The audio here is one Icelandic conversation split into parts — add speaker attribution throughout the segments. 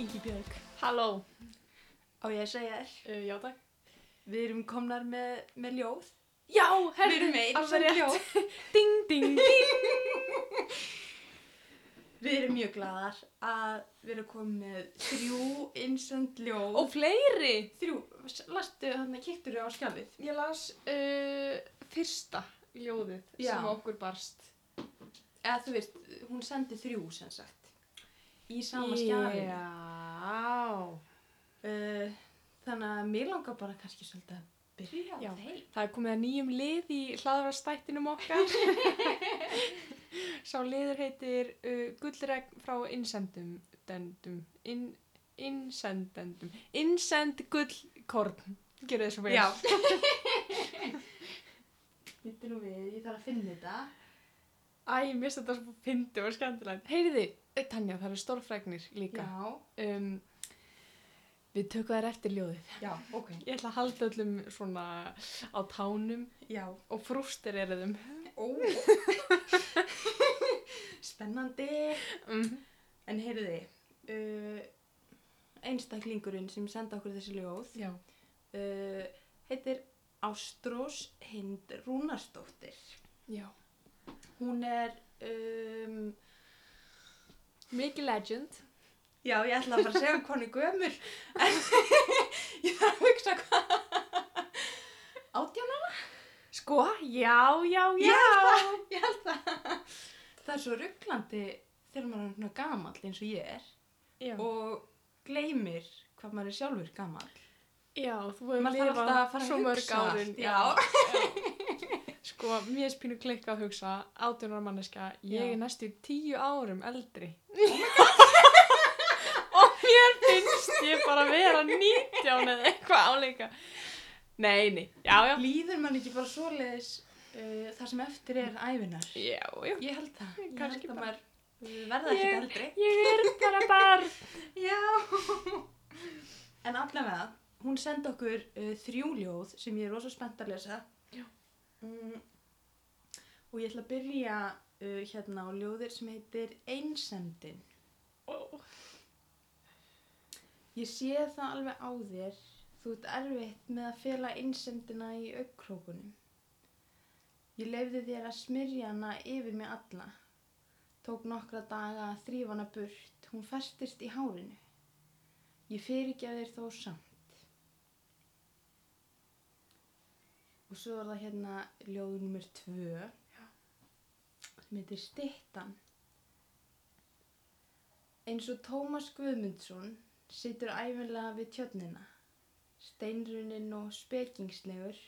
Speaker 1: Ingibjörg
Speaker 2: Halló,
Speaker 1: Á ég að segja þér
Speaker 2: uh, já takk
Speaker 1: Við erum komnar með, með ljóð
Speaker 2: Já,
Speaker 1: Við
Speaker 2: herru,
Speaker 1: erum með einu
Speaker 2: alveg
Speaker 1: sem
Speaker 2: rétt.
Speaker 1: ljóð
Speaker 2: Ding, ding,
Speaker 1: Við erum mjög glaðar að við erum komið með þrjú instant ljóð
Speaker 2: Og fleiri
Speaker 1: þrjú, lastu hann að kittur á skjalið
Speaker 2: Ég las uh, fyrsta ljóðið
Speaker 1: Já.
Speaker 2: sem okkur barst
Speaker 1: Eða þú veist, hún sendi þrjú sem sagt Í sama skjalið
Speaker 2: Já
Speaker 1: uh, Þannig að mér langar bara kannski svolítið að byrja á
Speaker 2: Já.
Speaker 1: þeim
Speaker 2: Það er komið að nýjum lið í hlaðvarstættinum okkar Sá liður heitir uh, Gullregn frá insendendum In, Insendendum Insend gullkorn Gjörðu þessu vel
Speaker 1: Þetta nú við, ég þarf að finna þetta
Speaker 2: Æ, mér finnst þetta svo fyndi og skemmtilegt. Heyriði, eh, Tanja, það eru stórfræknir líka. Um, við tökum þær eftir ljóðið.
Speaker 1: já, ok
Speaker 2: Ég ætla að halda öllum svona á tánum
Speaker 1: Já,
Speaker 2: og frústir er þeim.
Speaker 1: Ó. Spennandi.
Speaker 2: Mm.
Speaker 1: En heyrði, uh, einstaklingurinn sem senda okkur þessi ljóð
Speaker 2: Já.
Speaker 1: uh, heitir Ástrós Hind Rúnarsdóttir.
Speaker 2: Já.
Speaker 1: Hún er, um,
Speaker 2: Mikið legend.
Speaker 1: já ég ætla bara að segja um hvað hún er gömur, en ég þarf að hugsa hvað. Átján ára?
Speaker 2: Sko, já, já, já.
Speaker 1: Ég held það. Það er svo rugglandi þegar maður er svona gamall eins og ég er.
Speaker 2: Já,
Speaker 1: og gleymir hvað maður er sjálfur gammal.
Speaker 2: já þú hefur
Speaker 1: Maður þarf alltaf að fara að
Speaker 2: svo mörg
Speaker 1: hugsa allt,
Speaker 2: árin.
Speaker 1: já.
Speaker 2: já. Sko, mér er spínu klikka að hugsa, 18 ára manneska, ég
Speaker 1: Já.
Speaker 2: er næstu tíu árum eldri. og mér finnst ég bara vera 19 eða eitthvað áleika. Nei, nei, já, já.
Speaker 1: Líður mann ekki bara svoleiðis uh, það sem eftir er ævinar?
Speaker 2: Já, já.
Speaker 1: Ég held það. Ég
Speaker 2: Kannski
Speaker 1: held að
Speaker 2: bara.
Speaker 1: maður uh, verða ekkert
Speaker 2: Ég-
Speaker 1: eldri.
Speaker 2: Ég er bara barn.
Speaker 1: Já. en allavega, hún sendi okkur uh, þrjú ljóð sem ég er rosa spennt að lesa.
Speaker 2: Já.
Speaker 1: Mm, og ég ætla að byrja uh, hérna á ljóðir sem heitir Einsendin.
Speaker 2: Ó,
Speaker 1: Ég sé það alveg á þér. Þú ert erfitt með að fela einsendina í augkrókunum. Ég leifði þér að smyrja hana yfir mig alla. Tók nokkra daga að þrýfa hana burt. Hún festist í hárinu. Ég fyrirgef þér þó samt. Og svo er það hérna ljóðu nummer tvö. Sem heitir Stittan. Eins og Tómas Guðmundsson situr æfinlega við tjörnina. Steinrunin og spekingslegur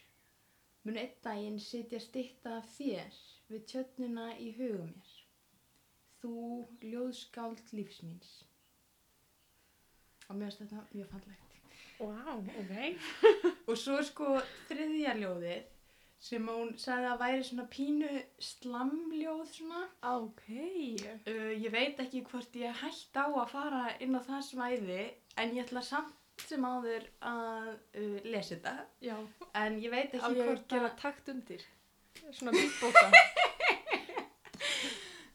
Speaker 1: mun einn daginn sitja stitta af þér við tjörnina í hugum mér. Þú ljóðskáld lífs míns. Og mér finnst þetta mjög fallegt.
Speaker 2: Vá, ok.
Speaker 1: Og svo er sko þriðja ljóðið sem hún sagði að væri svona pínu slamljóð svona.
Speaker 2: Ok.
Speaker 1: Uh, ég veit ekki hvort ég hætt á að fara inn á það svæði en ég ætla samt sem áður að uh, lesa þetta
Speaker 2: Já,
Speaker 1: en ég veit ekki
Speaker 2: alveg
Speaker 1: hvort
Speaker 2: gera
Speaker 1: að...
Speaker 2: takt undir. Svona bíbóta.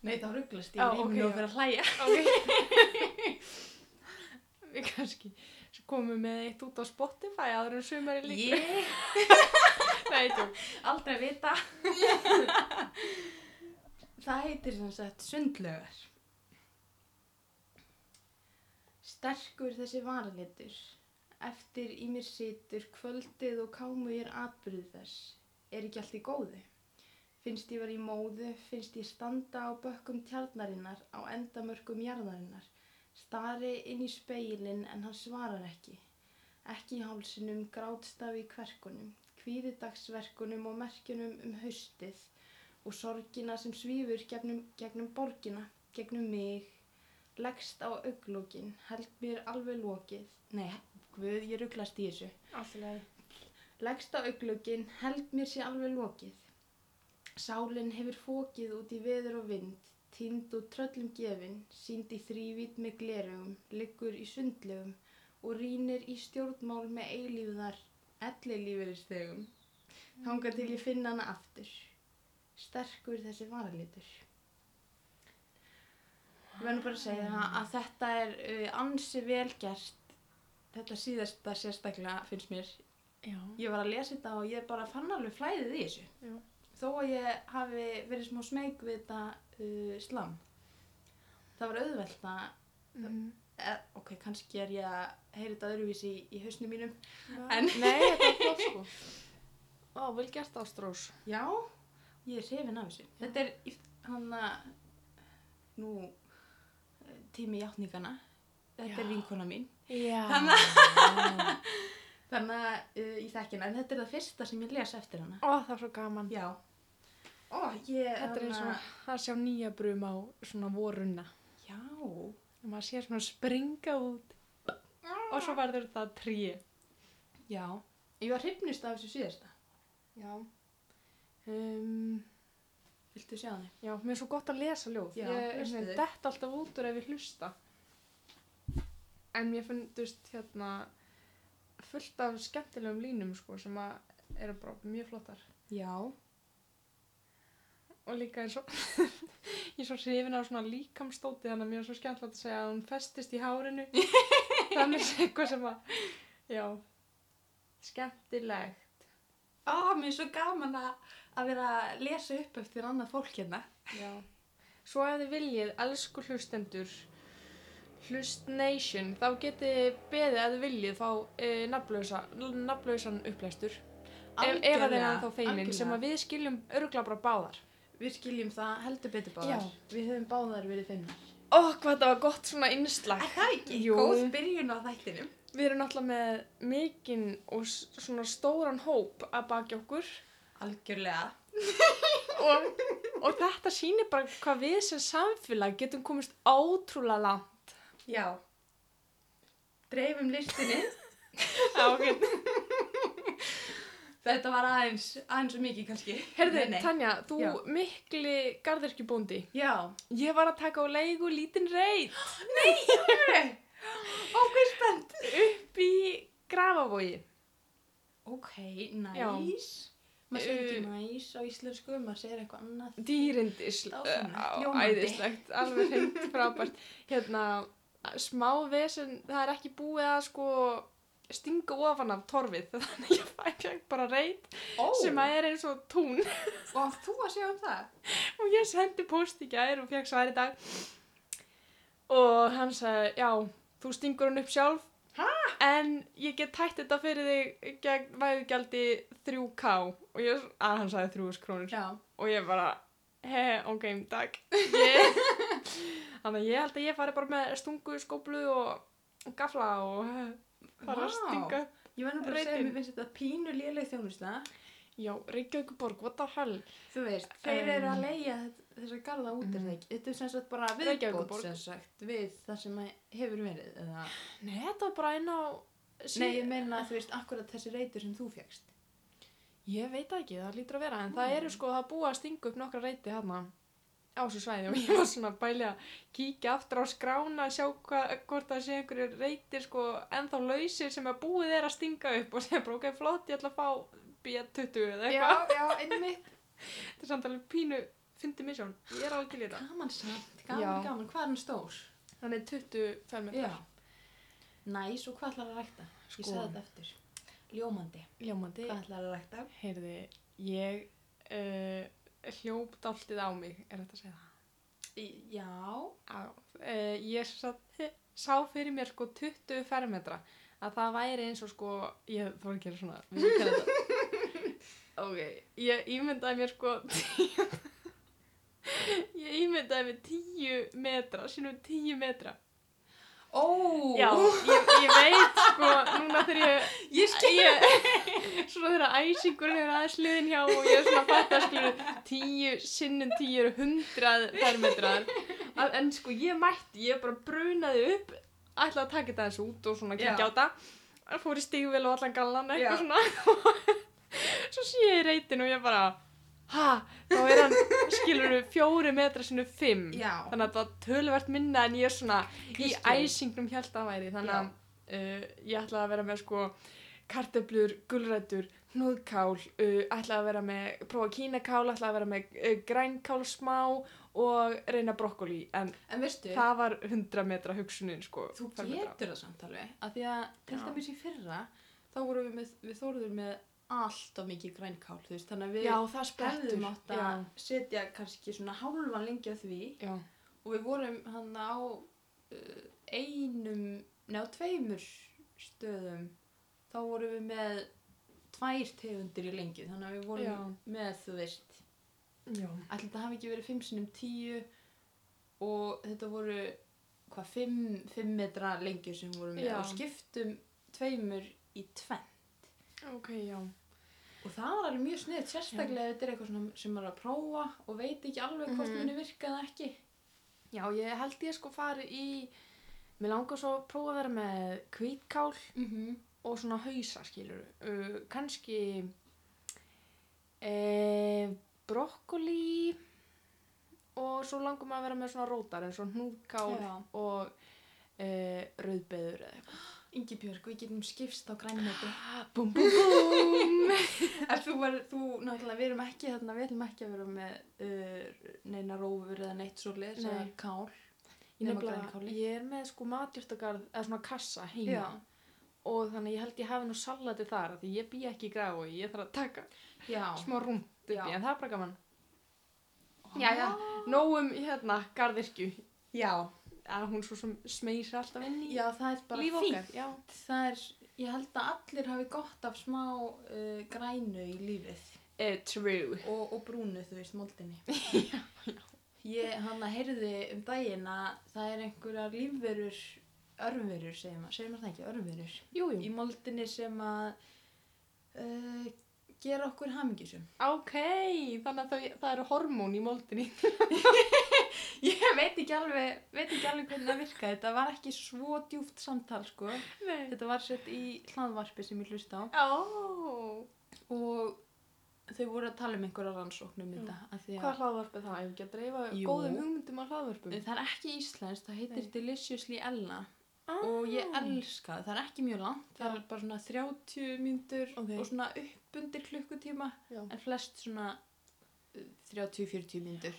Speaker 1: Nei þá rugglast
Speaker 2: Já,
Speaker 1: ég
Speaker 2: ok,
Speaker 1: rýmur
Speaker 2: já.
Speaker 1: og fyrir að hlæja.
Speaker 2: Ok. Við kannski svo komum við með eitt út á Spotify áður en sumari líka.
Speaker 1: Ég
Speaker 2: Nei, tjók.
Speaker 1: aldrei að vita. það heitir sem sagt sundlögar. Sterkur þessi varalitur. Eftir í mér situr kvöldið og kámu ég atbyrðu þess. Er ekki allt í góðu? Finnst ég var í móðu, finnst ég standa á bökkum tjarnarinnar, á endamörkum jarðarinnar. Stari inn í speilin en hann svarar ekki. Ekki í hálsinum, grátstafi í kverkunum, kvíðidagsverkunum og merkjunum um haustið og sorgina sem svífur gegnum, gegnum borgina, gegnum mig. Leggst á auglókin, held mér alveg lokið. Nei, guð, ég rugglast í þessu.
Speaker 2: Alltaf.
Speaker 1: Leggst á auglögin, held mér sé alveg lokið. Sálinn hefur fókið út í veður og vind, týnd og tröllum gefin, sínd í þrývít með glerugum, liggur í sundlegum og rínir í stjórnmál með eilífðar, ellilífeyristegum. Hanga til ég finna hana aftur. Sterkur þessi varalitur. Ég verður bara að segja það að þetta er uh, ansi vel gert. Þetta síðasta sérstaklega finnst mér.
Speaker 2: Já.
Speaker 1: Ég var að lesa þetta og ég bara fann alveg flæðið í þessu.
Speaker 2: Já.
Speaker 1: Þó að ég hafi verið smá smeg við þetta uh, slam. Það var auðvelt að,
Speaker 2: Mm.
Speaker 1: eh, ok, kannski er ég að heyra þetta öðruvísi í, í hausnum mínum. En-
Speaker 2: En... Nei, þetta er flott sko. Ó, vel gert Ástrós.
Speaker 1: Já, ég er hrifin af þessu. Þetta er í- hann að, nú, eh, tími játningana. Þetta er
Speaker 2: Já.
Speaker 1: vinkona mín.
Speaker 2: Já.
Speaker 1: Þannig Þannig að uh, ég þekki hana, en þetta er það fyrsta sem ég les eftir hana.
Speaker 2: Ó, það er svo gaman.
Speaker 1: Já. Ó, ég...
Speaker 2: Þetta er eins og að sjá nýja brum á svona vorunna.
Speaker 1: Já.
Speaker 2: Og maður sér svona springa út og svo verður það tríu.
Speaker 1: Já. Ég var hrifnust af þessu síðasta.
Speaker 2: Já. Um,
Speaker 1: Viltu sjá hana?
Speaker 2: já, mér er svo gott að lesa ljóð.
Speaker 1: Já,
Speaker 2: ég
Speaker 1: lestu
Speaker 2: er
Speaker 1: þau.
Speaker 2: dett alltaf út úr ef ég hlusta. En mér fundust hérna fullt af skemmtilegum línum sko sem að eru bara mjög flottar.
Speaker 1: Já.
Speaker 2: og líka eins og ég er svo hrifin á svona líkamstóti þannig að mér er svo skemmtilegt að segja að hún festist í hárinu þannig sé eitthvað sem að já skemmtilegt
Speaker 1: Ó, mér er svo gaman að, að vera að lesa upp eftir annað fólk hérna.
Speaker 2: já. svo ef þið viljið elsku hlustendur Hlust Nation þá getið þið beðið að þið viljið fá e, nafnlausa, nafnlausan upplæstur ef, ef að þeir er þá feiminn sem að við skiljum örgla bara báðar
Speaker 1: Við skiljum það heldur betur báðar.
Speaker 2: Já.
Speaker 1: Við höfum báðar verið feimnar.
Speaker 2: Ó, hvað þetta var gott svona innslag
Speaker 1: það
Speaker 2: Jú.
Speaker 1: Góð byrjun á þættinum.
Speaker 2: Við erum náttúrulega með mikinn og s- svona stóran hóp að baki okkur
Speaker 1: Algjörlega.
Speaker 2: og, og þetta sýnir bara hvað við sem samfélag getum komist ótrúlega langt.
Speaker 1: Já. Dreifum listinni.
Speaker 2: Já, ok.
Speaker 1: Þetta var aðeins, aðeins og mikið kannski.
Speaker 2: Herðu,
Speaker 1: Nei, nei.
Speaker 2: Tanja, þú
Speaker 1: Já.
Speaker 2: mikli garðirkjubóndi.
Speaker 1: Já.
Speaker 2: Ég var að taka á leigu lítinn reit
Speaker 1: Nei, alveg. Ó, hvað er spennt.
Speaker 2: upp í grafavogi.
Speaker 1: Ok,
Speaker 2: Já.
Speaker 1: næs. Maður segir ekki
Speaker 2: Uh,
Speaker 1: næs á íslensku, maður segir eitthvað annað.
Speaker 2: Dýrindis, eh,
Speaker 1: Dásamlegt,
Speaker 2: á-
Speaker 1: ljómandi.
Speaker 2: æðislegt, alveg hreint frábært. Hérna, smá vesen, það er ekki búið að sko stinga ofan af torfið, þannig að ég fæ fjöng bara reyt
Speaker 1: Ó,
Speaker 2: sem að er eins og tún
Speaker 1: og átt þú að segja um það?
Speaker 2: og ég sendi post í gær og fjöng svar í dag og hann sagði, já, þú stingur hann upp sjálf,
Speaker 1: Ha?
Speaker 2: en ég get tætt þetta fyrir þig gegn væðugjaldi 3K og ég, að hann sagði 3.000 krónur
Speaker 1: Já.
Speaker 2: og ég bara he, ok, takk Ég- þannig að ég held að ég fari bara með stungu, skóplu og gafla og eh, fara að
Speaker 1: Vá.
Speaker 2: stinga upp.
Speaker 1: Ég var nú bara að segja,
Speaker 2: Reytin.
Speaker 1: mér finnst þetta pínu léleg þjónusta.
Speaker 2: já, Reykjavíkuborg, what the hell
Speaker 1: Þú veist, þeir
Speaker 2: Um.
Speaker 1: eru að leigja þessar garða út er
Speaker 2: Mhm.
Speaker 1: það ekki. Þetta er sem sagt bara viðbót
Speaker 2: Reykjavíkurborg.
Speaker 1: sem sagt við það sem að hefur verið. Eða...
Speaker 2: nei, þetta var bara einn á sí-
Speaker 1: Nei, ég meina þú veist akkurat þessi reytur sem þú fegst.
Speaker 2: ég veit það ekki, það lítur að vera en
Speaker 1: Mm.
Speaker 2: það eru sko, það er búið að stinga upp nokkra reyti hérna á þessu svæði og ég var svona bæli að kíkja aftur á skrána sjá hva, hvort það sé einhverju reytir sko ennþá lausir sem að búið er að stinga upp og segja bara ok, flott, ég ætla að fá B20 eða eitthvað
Speaker 1: já, einmitt.
Speaker 2: Þetta er samt alveg pínu, fyndi mig sjálf, ég er alveg til í þetta.
Speaker 1: Gaman samt,
Speaker 2: Já.
Speaker 1: gaman, gaman. Hvað er hann stór?
Speaker 2: Hann er 20 fermetrar.
Speaker 1: Já. Næs og hvað ætlar að rækta?
Speaker 2: Sko.
Speaker 1: Ég sagði þetta eftir. Ljómandi.
Speaker 2: Ljómandi.
Speaker 1: Hvað ætlar að rækta?
Speaker 2: Heyrði, ég uh, hljóp dáltið á mig, er þetta að segja það?
Speaker 1: Í- Já.
Speaker 2: Já. Uh, ég satt, sá fyrir mér sko 20 fermetra að það væri eins og sko, ég þarf að gera svona, við erum að þetta. ok, ég ímyndaði mér sko ég ímyndaði mér 10 metra, sínum 10 metra.
Speaker 1: Ó!
Speaker 2: Já, ég, ég veit sko, núna þegar ég
Speaker 1: Ég skil.
Speaker 2: ég, svona þegar æsingurinn er aðeins liðin hjá og ég er svona að fatta skilur tíu sinnum tíu eru hundrað fermetrar að, en sko ég mætti, ég bara brunaði upp ætlaði að taka þetta eins út og svona
Speaker 1: Já.
Speaker 2: kíkja á þetta fór í stígvel og allan gallan
Speaker 1: Já.
Speaker 2: eitthvað svona svo sé ég reytin og ég bara ha, þá er hann skilur fjóri metra sinu fimm
Speaker 1: Já.
Speaker 2: þannig að það var tölvert minna en ég svona í
Speaker 1: Kristín.
Speaker 2: æsingnum held að væri þannig að uh, ég ætlaði að vera með sko kartöflur, gulrætur, hnúðkál uh, ætlaði að vera með, prófa kínakál ætlaði að vera með uh, grænkál smá og og reyna brokkoli en
Speaker 1: En veistu,
Speaker 2: það var 100 metra hugsunin sko
Speaker 1: þú
Speaker 2: fermetra.
Speaker 1: getur það samt alveg. Af því að til
Speaker 2: Já.
Speaker 1: dæmis í fyrra, þá vorum við, með, við þóruður með alltaf mikið grænkál, þú veist, þannig að við
Speaker 2: Já, það sprettur
Speaker 1: hefðum átt
Speaker 2: já.
Speaker 1: að setja kannski svona hálfan lengi að því
Speaker 2: já,
Speaker 1: og við vorum hann á uh, einum, neða tveimur stöðum þá vorum við með tvær tegundir í lengju þannig að við vorum með þú veist
Speaker 2: já,
Speaker 1: allir þetta hafi ekki verið fimm sinnum tíu og þetta voru hvað fimm, fimm metra lengju sem vorum með
Speaker 2: Já.
Speaker 1: og skiptum tveimur í tvenn
Speaker 2: ok, já
Speaker 1: og það var alveg mjög sniðt sérstaklega ef þetta er eitthvað svona sem maður er að prófa og veit ekki alveg hvort mm
Speaker 2: Mhm.
Speaker 1: -hmm. muni virka eða ekki
Speaker 2: Já, ég held ég sko farið í mér langar svo að prófa að vera með kvítkál
Speaker 1: mm -hmm.
Speaker 2: og svona hausa skilur uh, kannski e, brokkoli og svo langar maður að vera með svona rótar eins og hnúkál
Speaker 1: Já.
Speaker 2: og e, rauðbeður eða eitthvað
Speaker 1: Ingibjörg, við getum skipst á grænmeti
Speaker 2: bum bum bum
Speaker 1: En þú, var, þú, náttúrulega, við erum ekki þarna, við ætlum ekki að vera með uh, neina rófur eða neitt svoleiðis
Speaker 2: Nei.
Speaker 1: eða kál.
Speaker 2: ég,
Speaker 1: Nema
Speaker 2: nefnilega-
Speaker 1: grænkáli.
Speaker 2: ég er með sko matjurtagarð eða svona kassa heima
Speaker 1: Já.
Speaker 2: og þannig að ég held ég hafi nú salati þar af því ég bý ekki í gráu ég þarf að taka
Speaker 1: Já.
Speaker 2: smá rúmt upp
Speaker 1: Já.
Speaker 2: í en það er bara gaman nógum hérna garðirkju
Speaker 1: Já.
Speaker 2: að hún svo sem smeir alltaf inn í
Speaker 1: Já, það er bara
Speaker 2: líf okkar
Speaker 1: fínt.
Speaker 2: já.
Speaker 1: Það er, ég held að allir hafi gott af smá uh, grænu í lífið
Speaker 2: Eh, true
Speaker 1: og, og brúnu, þú veist, moldinni. já, já. Ég, hann að heyrði um daginn að það er einhverjar lífverur, örverur, segir maður, segir maður það ekki, örverur.
Speaker 2: jú,
Speaker 1: í moldinni sem að uh, gera okkur hamingisum.
Speaker 2: ok, þannig að það, það eru hormón í moldinni
Speaker 1: Ég veit ekki alveg, veit ekki alveg hvernig það virkaði. Þetta var ekki svo djúft samtal, sko.
Speaker 2: Nei.
Speaker 1: Þetta var sett í hlaðvarpi sem ég hlusta á
Speaker 2: Ó,
Speaker 1: og þau voru að tala um einhverja rannsóknum
Speaker 2: Já.
Speaker 1: þetta. af því að-
Speaker 2: hvað hlaðvarp er það? Ef ekki að dreifa
Speaker 1: Jú.
Speaker 2: góðum hugmyndum á hlaðvarpum
Speaker 1: Það er ekki íslenskt, það heitir
Speaker 2: Nei.
Speaker 1: Deliciously Ella
Speaker 2: ah.
Speaker 1: og ég elska það, það er ekki mjög langt, það
Speaker 2: Já.
Speaker 1: er bara svona 30 myndur
Speaker 2: Ok.
Speaker 1: og svona upp undir klukkutíma
Speaker 2: Já.
Speaker 1: en flest svona uh, 30-40 myndur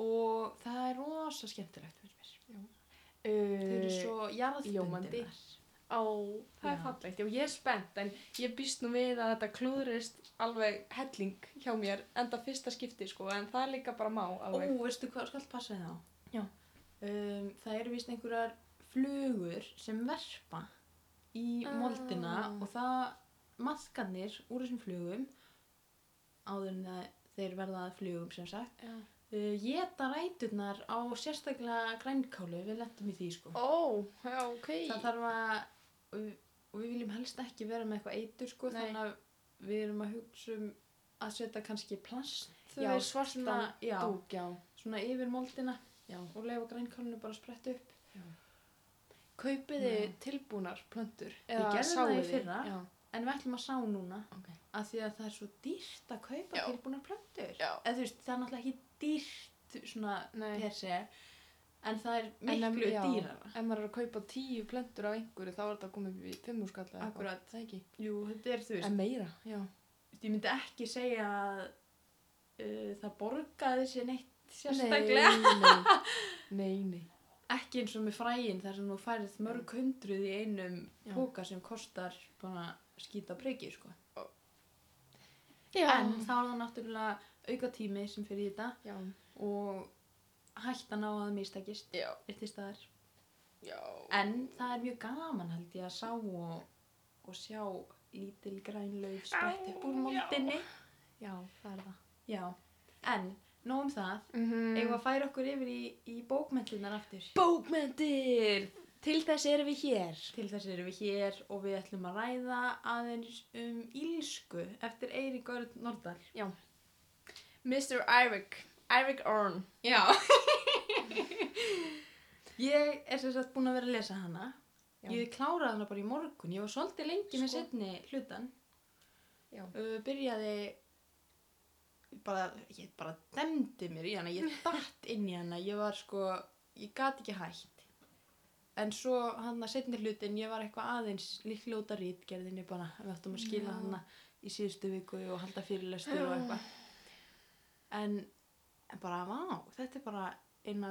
Speaker 1: og það er rosa skemmtilegt fyrir mér.
Speaker 2: uh,
Speaker 1: Þau eru svo
Speaker 2: ljómandi.
Speaker 1: jarðbundinar.
Speaker 2: Ó, það er
Speaker 1: Já.
Speaker 2: fallegt, já, ég er spennt en ég býst nú við að þetta klúðrist alveg helling hjá mér en það fyrsta skipti sko, en það er líka bara má
Speaker 1: Ó,
Speaker 2: alveg
Speaker 1: veistu hvað skal passa þið á?
Speaker 2: Já.
Speaker 1: Um, það eru víst einhverjar flugur sem verpa í
Speaker 2: Ah.
Speaker 1: moldina og það maðkarnir úr þessum flugum áður en það þeir verða að flugum sem sagt
Speaker 2: Já.
Speaker 1: uh, geta ræturnar á sérstaklega grænkálu við lentum í því sko
Speaker 2: Ó, já, ok
Speaker 1: það þarf að og við- og við viljum helst ekki vera með eitthvað eitur sko
Speaker 2: Nei.
Speaker 1: þannig að við erum að hugsa um að setja kannski plast þú
Speaker 2: Já,
Speaker 1: veist,
Speaker 2: svartan
Speaker 1: svona- já,
Speaker 2: dúk, já,
Speaker 1: svona yfir moldina
Speaker 2: já
Speaker 1: og leifa grænkálinu bara að spretta upp
Speaker 2: Kaupiði
Speaker 1: Já.
Speaker 2: tilbúnar plöntur
Speaker 1: Við gerðum það í
Speaker 2: sáiði?
Speaker 1: fyrra.
Speaker 2: Já,
Speaker 1: en við ætlum að sá núna
Speaker 2: okay.
Speaker 1: að því að það er svo dýrt að kaupa
Speaker 2: Já.
Speaker 1: tilbúnar plöntur
Speaker 2: Já.
Speaker 1: eða þú veist það er náttúrulega ekki dýrt svona
Speaker 2: Nei,
Speaker 1: per se en það er
Speaker 2: En em-
Speaker 1: miklu
Speaker 2: já.
Speaker 1: dýrara
Speaker 2: ef maður er að kaupa tíu plöntur á einhverju þá er þetta komið upp í fimmúskall
Speaker 1: Akkúrat.
Speaker 2: Það ekki
Speaker 1: jú þetta er þú veist
Speaker 2: En meira, já
Speaker 1: ég myndi ekki segja að uh, það borgaði sér neitt sérstaklega
Speaker 2: Nei, nei, nei, nei.
Speaker 1: ekki eins og með fræin þar sem þú færið mörg hundruð í einum
Speaker 2: Já.
Speaker 1: póka sem kostar bara skýta prikið sko.
Speaker 2: Já.
Speaker 1: en þá er það náttúrulega auka tími sem fyrir þetta
Speaker 2: já.
Speaker 1: og hættan á að mistakist
Speaker 2: Já.
Speaker 1: er til staðar
Speaker 2: já
Speaker 1: en það er mjög gaman held ég að sá og, og sjá lítil grænlaug sprett upp úr
Speaker 2: Á, já.
Speaker 1: moldinni
Speaker 2: Já, það er það
Speaker 1: já, en nóg um það
Speaker 2: mm
Speaker 1: eigum við að færa okkur yfir í, í bókmentinar aftur
Speaker 2: Bókmyndir Til þess erum við hér
Speaker 1: til þess erum við hér og við ætlum að ræða aðeins um Ílsku eftir Eirík Örn Nordal
Speaker 2: Mr. Eirik Eirik Orn
Speaker 1: já ég er sem sagt búin að vera að lesa hana
Speaker 2: Já.
Speaker 1: ég kláraði hana bara í morgun ég var svolítið lengi með
Speaker 2: Sko.
Speaker 1: setni hlutan
Speaker 2: Já.
Speaker 1: uh, byrjaði bara, ég bara demdi mér í hana ég datt inn í hana ég var sko, ég gat ekki hægt en svo hann að setni hlutin ég var eitthvað aðeins líkljóta rítgerðinni bara, við áttum að skila
Speaker 2: Já.
Speaker 1: hana í síðustu viku og halda fyrirlestur og
Speaker 2: Já.
Speaker 1: eitthvað en en bara, vá, þetta er bara eina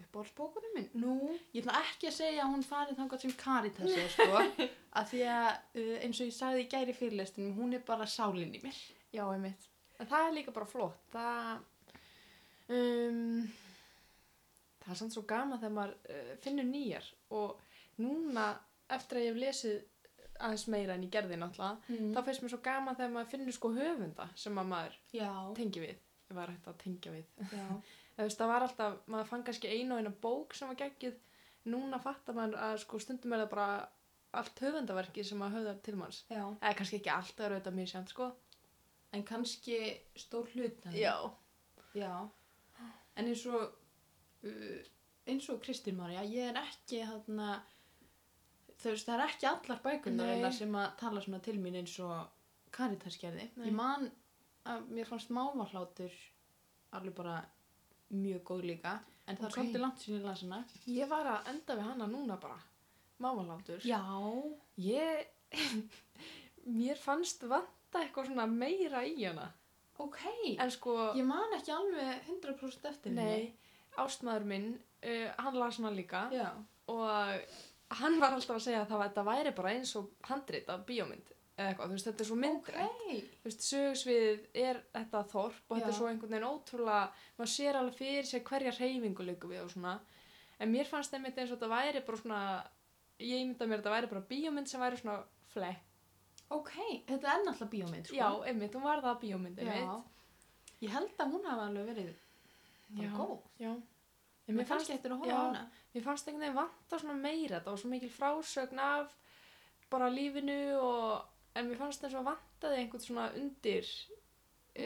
Speaker 1: uppáhaldsbókunum minn
Speaker 2: Nú,
Speaker 1: Ég ætla ekki að segja að hún farið þangað sem Caritas er sko að því að uh, eins og ég sagði í gæri fyrirlestinum hún er bara sálinn í mér
Speaker 2: já, einmitt. En það er líka bara flott. Það, um, það er samt svo gaman þegar maður uh, finnur nýjar og núna eftir að ég hef lesið aðeins meira en ég gerði náttúrulega,
Speaker 1: Mm.
Speaker 2: þá finnst mér svo gaman þegar maður finnur sko höfunda sem að maður
Speaker 1: Já,
Speaker 2: tengi við, ef maður hægt að tengja við.
Speaker 1: já,
Speaker 2: Þú veist, það var alltaf, maður fann kannski einu og eina bók sem var geggið, núna fattar maður að sko stundum er það bara allt höfundaverki sem maður höfðar til manns.
Speaker 1: já
Speaker 2: Eða kannski ekki allt, það eru auðvitað mér sem, sko.
Speaker 1: En kannski stór hlut Já En eins og uh, eins og Kristín Marja ég er ekki þarna þú veist, það er ekki allar bækunar
Speaker 2: Nei.
Speaker 1: eiginlega sem að tala svona til mín eins og Caritas gerði.
Speaker 2: Nei.
Speaker 1: Ég man að mér fannst mávahlátur alveg bara mjög góð líka en það
Speaker 2: Ok.
Speaker 1: er svolítið langt sinni í lasina.
Speaker 2: Ég var að enda við hana núna bara, mámalátur.
Speaker 1: Já.
Speaker 2: Ég, mér fannst vanta eitthvað svona meira í hana.
Speaker 1: Ok.
Speaker 2: En sko,
Speaker 1: Ég man ekki alveg 100% eftir
Speaker 2: nei, ástmaður minn, uh, hann las hana líka
Speaker 1: henni. Já.
Speaker 2: og hann var alltaf að segja að það var- þetta væri bara eins og handrit af bíómynd eða eitthvað, þú veist, þetta er svo myndrænt.
Speaker 1: Ok.
Speaker 2: þú veist, sögursviðið er þetta þorp og þetta er
Speaker 1: Já.
Speaker 2: svo einhvern veginn ótrúlega, maður sér alveg fyrir sér hverja reyfingu líka við og svona, en mér fannst það einmitt eins og þetta væri bara svona, ég ímynda mér að þetta væri bara bíómynd sem væri svona flekk,
Speaker 1: Ok. Þetta er náttúrulega bíómynd, sko.
Speaker 2: já, einmitt, hún var það bíómynd, einmitt.
Speaker 1: Já. Ég held að hún hafa alveg verið bara góð.
Speaker 2: Já, en
Speaker 1: En
Speaker 2: mér fannst,
Speaker 1: eftir að
Speaker 2: já.
Speaker 1: horfa á hana.
Speaker 2: mér fannst einhvern veginn vanta svona meira, þetta var svo mikil frásögn af bara lífinu og, en mér fannst eins og vantaði einhvern svona undir, um,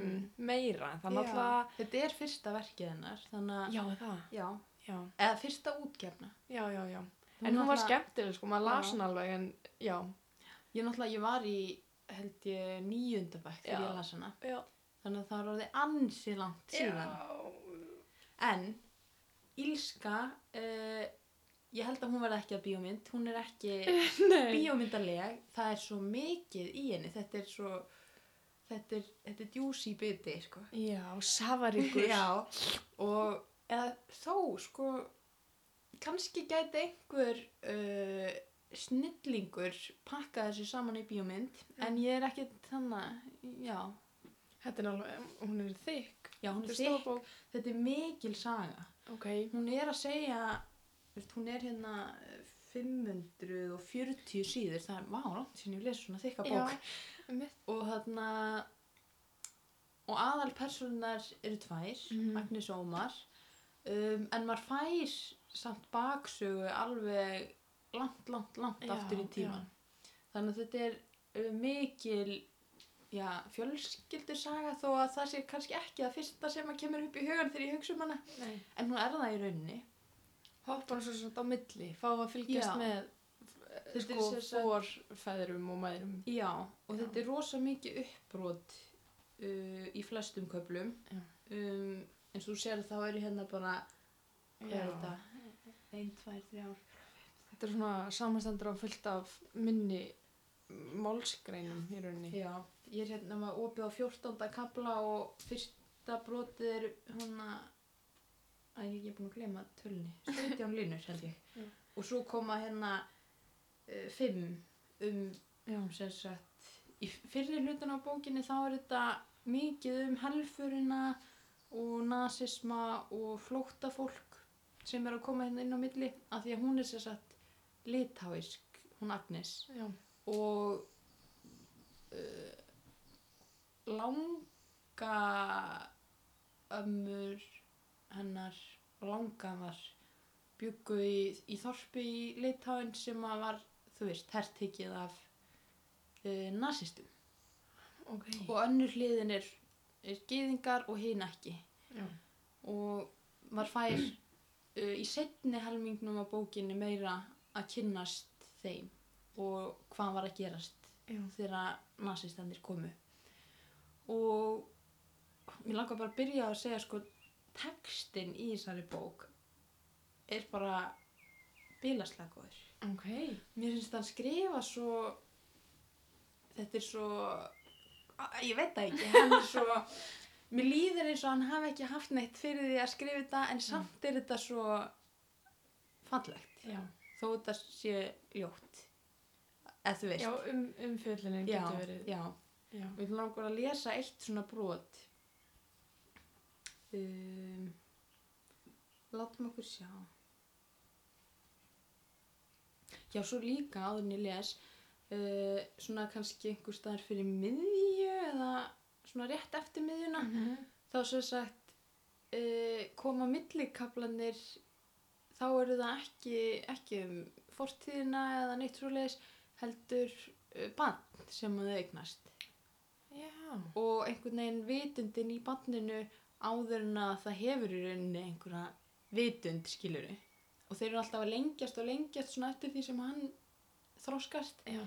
Speaker 1: Mm.
Speaker 2: meira, þannig
Speaker 1: Já.
Speaker 2: að alltaf,
Speaker 1: Þetta er fyrsta verkið hennar, þannig að...
Speaker 2: já, það,
Speaker 1: Já.
Speaker 2: já.
Speaker 1: Eða fyrsta útgefna.
Speaker 2: Já, já, já. en hún var skemmtileg, sko, maður las
Speaker 1: Já.
Speaker 2: hann alveg, en já.
Speaker 1: Ég náttúrulega, ég var í, held ég, nýjöndabæk þegar
Speaker 2: Já.
Speaker 1: ég las hana.
Speaker 2: Já.
Speaker 1: Þannig að það var orðið ansi langt síðan. En, Ílska, uh, ég held að hún verði ekki að bíómynd. Hún er ekki
Speaker 2: Nei.
Speaker 1: bíómyndarleg. Það er svo mikið í henni. Þetta er svo... Þetta er, þetta er djúsi biti, sko.
Speaker 2: Já, safaríkur.
Speaker 1: Já, og eða, þó, sko, kannski gæti einhver uh, snillingur pakka þessu saman í bíómynd, en ég er ekki þannig, já,
Speaker 2: Þetta er alveg, hún er þykk.
Speaker 1: já, hún er
Speaker 2: Þetta er
Speaker 1: þig,
Speaker 2: stórbók.
Speaker 1: þetta er mikil saga.
Speaker 2: Ok.
Speaker 1: Hún er að segja, veist, hún er hérna eh, 540 síður, það er, vá, langt sinni ég lesi svona þykka
Speaker 2: Já,
Speaker 1: bók.
Speaker 2: mitt.
Speaker 1: Og þarna, og aðal personar eru tvær,
Speaker 2: Mhm.
Speaker 1: Agnes og Ómar, um, en maður fær samt baksögu alveg langt, langt, langt
Speaker 2: Já,
Speaker 1: aftur í tíman. Þannig að þetta er uh, mikil já, fjölskyldursaga þó að það sé kannski ekki það fyrsta sem að kemur upp í hugan þegar ég hugsa um hana,
Speaker 2: Nei.
Speaker 1: en hún er það í rauninni.
Speaker 2: Hoppa hann svo svona á milli, fá að fylgjast
Speaker 1: Já.
Speaker 2: með,
Speaker 1: Þetta
Speaker 2: sko,
Speaker 1: er sem
Speaker 2: fórfæðrum og mæðrum.
Speaker 1: Já, og
Speaker 2: Já.
Speaker 1: þetta er rosa mikið uppbrot uh, í flestum köflum.
Speaker 2: Já.
Speaker 1: Um, eins og þú sér þá eru hérna bara, hvað er þetta? Einn, tvær, þrjár.
Speaker 2: Þetta er svona samanstendur á fullt af minni málsgreinum í rauninni.
Speaker 1: Já, ég er hérna með opið á 14. kapla og fyrsta brotið er hana, að ég ég er búin að glema tölni, 17 línur held ég.
Speaker 2: Já.
Speaker 1: Og svo koma hérna uh, fimm um,
Speaker 2: Já.
Speaker 1: sem sagt, í fyrir hlutin á bókinni þá er þetta mikið um helfurina og nasisma og flóttafólk sem er að koma hérna inn á milli af því að hún er sem sagt litáisk, hún Agnes
Speaker 2: Já.
Speaker 1: og uh, langa ömmur hennar langamar byggu í, í þorpi í litáin sem að var, þú veist, hertekið af uh, nasistum
Speaker 2: Ok.
Speaker 1: og önnur hliðin er, er gyðingar og hinn ekki
Speaker 2: Já.
Speaker 1: og maður fær uh, í setni helmingnum á bókinni meira að kynnast þeim og hvað var að gerast
Speaker 2: Já.
Speaker 1: þegar nasistandir komu og mér langar bara að byrja að segja sko textin í þessari bók er bara bilaslega góður
Speaker 2: Ok.
Speaker 1: mér finnst hann skrifa svo þetta er svo Æ, ég veit það ekki, hann er svo mér líður eins og hann hafi ekki haft neitt fyrir því að skrifa þetta en samt er þetta svo fallegt
Speaker 2: Já,
Speaker 1: þó þetta sé ljótt eða þú veist
Speaker 2: já um, umfjöllunin
Speaker 1: já,
Speaker 2: getur verið.
Speaker 1: já.
Speaker 2: Já.
Speaker 1: Við langar að lesa eitt svona brot. Um, látum okkur sjá. Já, svo líka áður en ég les, uh, svona kannski einhver staðar fyrir miðju eða svona rétt eftir miðjuna, þá sem sagt uh, koma millikablanir, þá eru það ekki, ekki um fortíðina eða neitt svoleiðis, heldur uh, band sem að þau eignast
Speaker 2: Já.
Speaker 1: og einhvern veginn vitundin í banninu áður en að það hefur í rauninni einhverja vitund skiluru og þeir eru alltaf að lengjast og lengjast svona eftir því sem hann þroskast
Speaker 2: Já.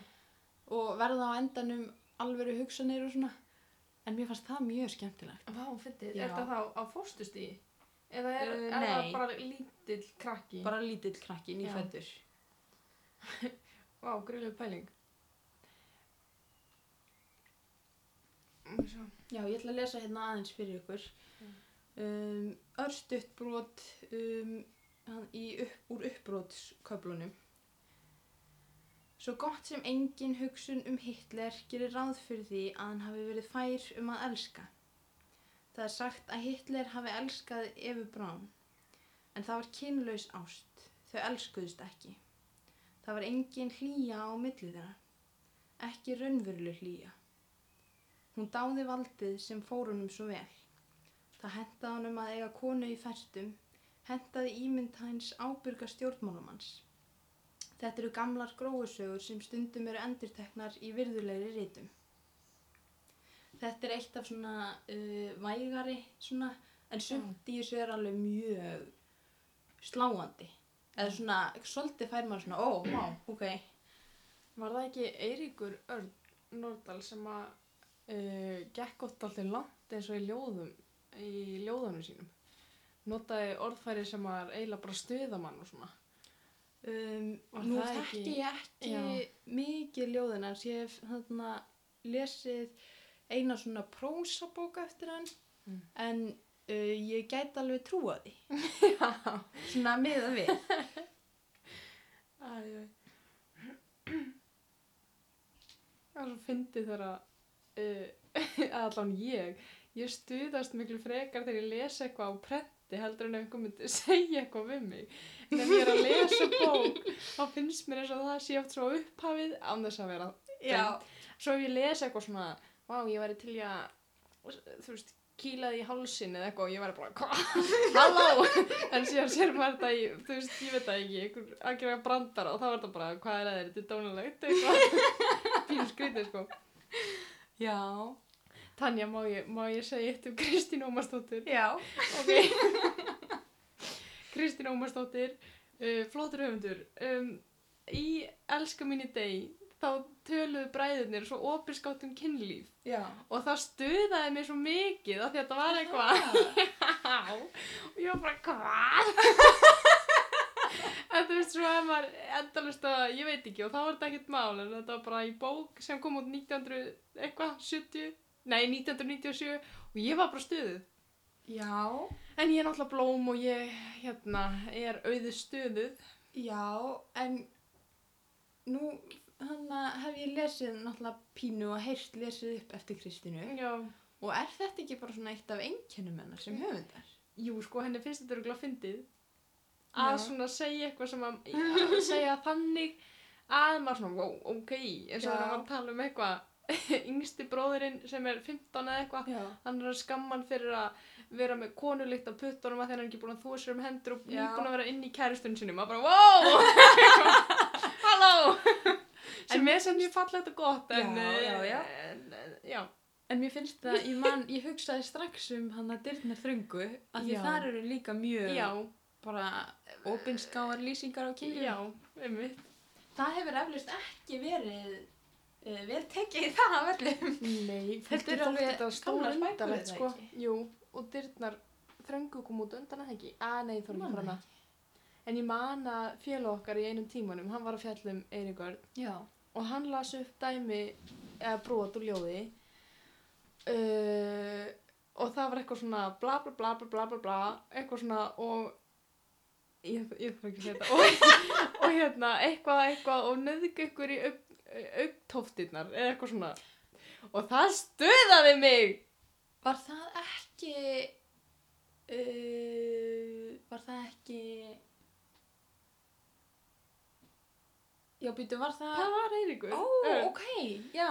Speaker 1: og verða á endanum alveru hugsanir og svona en mér fannst það mjög skemmtilegt
Speaker 2: Vá, fyndið.
Speaker 1: Já.
Speaker 2: Er þetta þá á fóstustigi? Eða
Speaker 1: Uh,
Speaker 2: er, er það
Speaker 1: nei.
Speaker 2: bara lítill krakki?
Speaker 1: bara lítill krakki, nýfættur
Speaker 2: Vá, grunlega pæling. Og Svo.
Speaker 1: Já, ég ætla að lesa hérna aðeins fyrir ykkur. Um, örstutt brot um, hann í upp, úr uppbrotsköflunum. Svo gott sem engin hugsun um Hitler gerir ráð fyrir því að hann hafi verið fær um að elska. Það er sagt að Hitler hafi elskað Evu Braun, en það var kynlaus ást, þau elskuðust ekki. Það var engin hlýja á milli þeirra, ekki raunveruleg hlýja. Hún dáði valdið sem fór honum svo vel. Það hentaði honum að eiga konu í festum, hentaði ímynd hans ábyrga stjórnmálumanns. Þetta eru gamlar gróusögur sem stundum eru endurteknar í virðulegri rítum. Þetta er eitt af svona uh, vægari, svona, en sumt í þessu er alveg mjög sláandi. Eða svona, svolítið fær maður svona, ó, má, ok.
Speaker 2: Var það ekki Eiríkur Örn Nordal sem að uh, gekk oft alltaf langt eins og í ljóðum í ljóðanum sínum notaði orðfæri sem að er eiginlega bara stuðamann og svona
Speaker 1: Um,
Speaker 2: Var
Speaker 1: nú
Speaker 2: það
Speaker 1: þekki
Speaker 2: ekki-
Speaker 1: ég ekki mikið ljóðin hans, ég hef þarna lesið eina svona prósabók eftir hann
Speaker 2: Mm.
Speaker 1: en uh, ég gæti alveg trúa því,
Speaker 2: Já
Speaker 1: svona miða við.
Speaker 2: Það er svo fyndið þegar að uh, allan ég ég stuðast miklu frekar þegar ég les eitthvað á prenti heldur en ef einhver myndi segja eitthvað við mig en ef ég er að lesa bók þá finnst mér eins og það sé oft svo upphafið án þess að vera Já. svo ef ég les eitthvað svona vá, ég væri til í að þú veist, kýlaði í hálsin eða eitthvað og ég væri bara, hvað, halló en síðan sér maður þetta í, þú veist, ég veit það ekki einhver að gera brandara og þá er þetta bara, hvað er að þér, þetta er dónulegt eitthvað, pínu skrítið sko
Speaker 1: Já,
Speaker 2: Tanja, má ég, má ég segja eitt um Kristín Ómarsdóttir
Speaker 1: já,
Speaker 2: ok Kristín Ómarsdóttir uh, flóttur höfundur um, í Elska mín í deg þá töluðu bræðurnir svo opinskátt um kynlíf
Speaker 1: já.
Speaker 2: og það stuðaði mér svo mikið af því að þetta var eitthvað
Speaker 1: Ah.
Speaker 2: Já, og ég var bara, hvað? en þú veist, svo er maður endalust að, ég veit ekki, og þá var þetta ekkert mál, en þetta var bara í bók sem kom út 1900, eitthvað, 70, nei, 1997, og ég var bara stuðuð.
Speaker 1: Já,
Speaker 2: En ég er náttúrulega blóm og ég, hérna, er auðið stuðuð.
Speaker 1: já, en nú hana, hef ég lesið náttúrulega pínu og heyrt lesið upp eftir Kristínu
Speaker 2: Já.
Speaker 1: og er þetta ekki bara svona eitt af einkennum hennar sem höfundar?
Speaker 2: Jú, sko, henni finnst þetta örgulega fyndið. Að
Speaker 1: Já.
Speaker 2: svona segja eitthvað sem að, að segja þannig að maður svona, wow, ok, eins og
Speaker 1: Já.
Speaker 2: þegar maður tala um eitthvað, yngsti bróðurinn sem er 15 eða eitthvað,
Speaker 1: Já.
Speaker 2: hann er að skamma hann fyrir að vera með konulikt á puttunum að þegar hann er ekki búin að þúa sér um hendur og
Speaker 1: Já.
Speaker 2: nýbúin að vera inn í kæristun sinni maður bara, wow halló sem er sem mjög fallegt og gott en, eh,
Speaker 1: Já, já, já.
Speaker 2: en, en, já.
Speaker 1: En mér finnst það, ég, man, ég hugsaði strax um hann að dyrnar þröngu að því
Speaker 2: Já.
Speaker 1: þar eru líka mjög
Speaker 2: já,
Speaker 1: bara opinskáar lýsingar á kynlíf.
Speaker 2: já, einmitt
Speaker 1: Það hefur eflust ekki verið uh, vel tekið í það af öllum.
Speaker 2: nei,
Speaker 1: fólki
Speaker 2: þetta er
Speaker 1: þótti
Speaker 2: alveg
Speaker 1: þetta
Speaker 2: gamlar
Speaker 1: stórundarlegt,
Speaker 2: bækur, er það
Speaker 1: sko.
Speaker 2: ekki? jú, og dyrnar þröngu kom út undan að ekki að nei, þú erum
Speaker 1: Man
Speaker 2: ekki
Speaker 1: það
Speaker 2: fram að en ég man að félag okkar í einum tímanum hann var að fjalla um Eiríkörn
Speaker 1: Já.
Speaker 2: og hann las upp dæmi eða brot úr ljóði uh, og það var eitthvað svona bla bla bla bla bla bla bla eitthvað svona og ég, ég þarf ekki að segja þetta og, og hérna eitthvað eitthvað og nöðg ykkur í augtóftirnar eða eitthvað svona og það stöðaði mig
Speaker 1: Var það ekki uh, Var það ekki Já, býtu, var það
Speaker 2: það var Eiríkur
Speaker 1: Ó,
Speaker 2: Örn.
Speaker 1: ok, já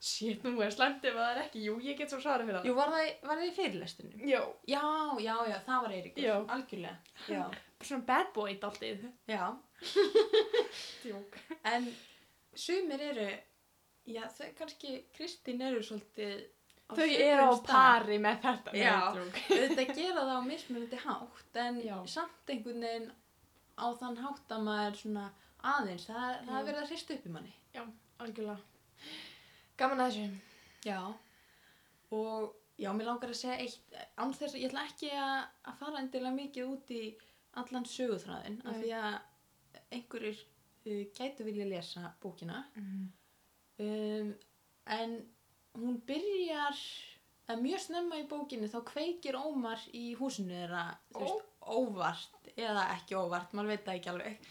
Speaker 2: Shit, nú er slemt ef það er ekki, jú, ég get svo svara fyrir það.
Speaker 1: Jú, var það, var það í fyrirlestunum?
Speaker 2: Jú,
Speaker 1: Já, já, já, það var Eiríkur
Speaker 2: Já.
Speaker 1: Algjörlega Já,
Speaker 2: svona bad boy daltið.
Speaker 1: já
Speaker 2: Djók.
Speaker 1: En sumir eru Já, þau kannski Kristín eru svolítið
Speaker 2: Þau
Speaker 1: svipuðum
Speaker 2: eru á
Speaker 1: stað.
Speaker 2: pari með þetta.
Speaker 1: Já.
Speaker 2: Djók.
Speaker 1: auðvitað gera það á mismunandi hátt en
Speaker 2: Já.
Speaker 1: samt einhvern veginn á þann hátt að maður svona aðeins, það, það
Speaker 2: Já.
Speaker 1: er verið að hrista upp í manni
Speaker 2: Algjörlega. Gaman að þessu.
Speaker 1: já og já, mér langar að segja eitt án þess að ég ætla ekki að, að fara endilega mikið út í allan söguþræðin af
Speaker 2: Nei.
Speaker 1: því að einhverjir uh, gætu vilja lesa bókina
Speaker 2: Mhm.
Speaker 1: um, en hún byrjar að mjög snemma í bókinni þá kveikir Ómar í húsinu þeirra þú
Speaker 2: Ó.
Speaker 1: veist, óvart eða ekki óvart, maður veit það ekki alveg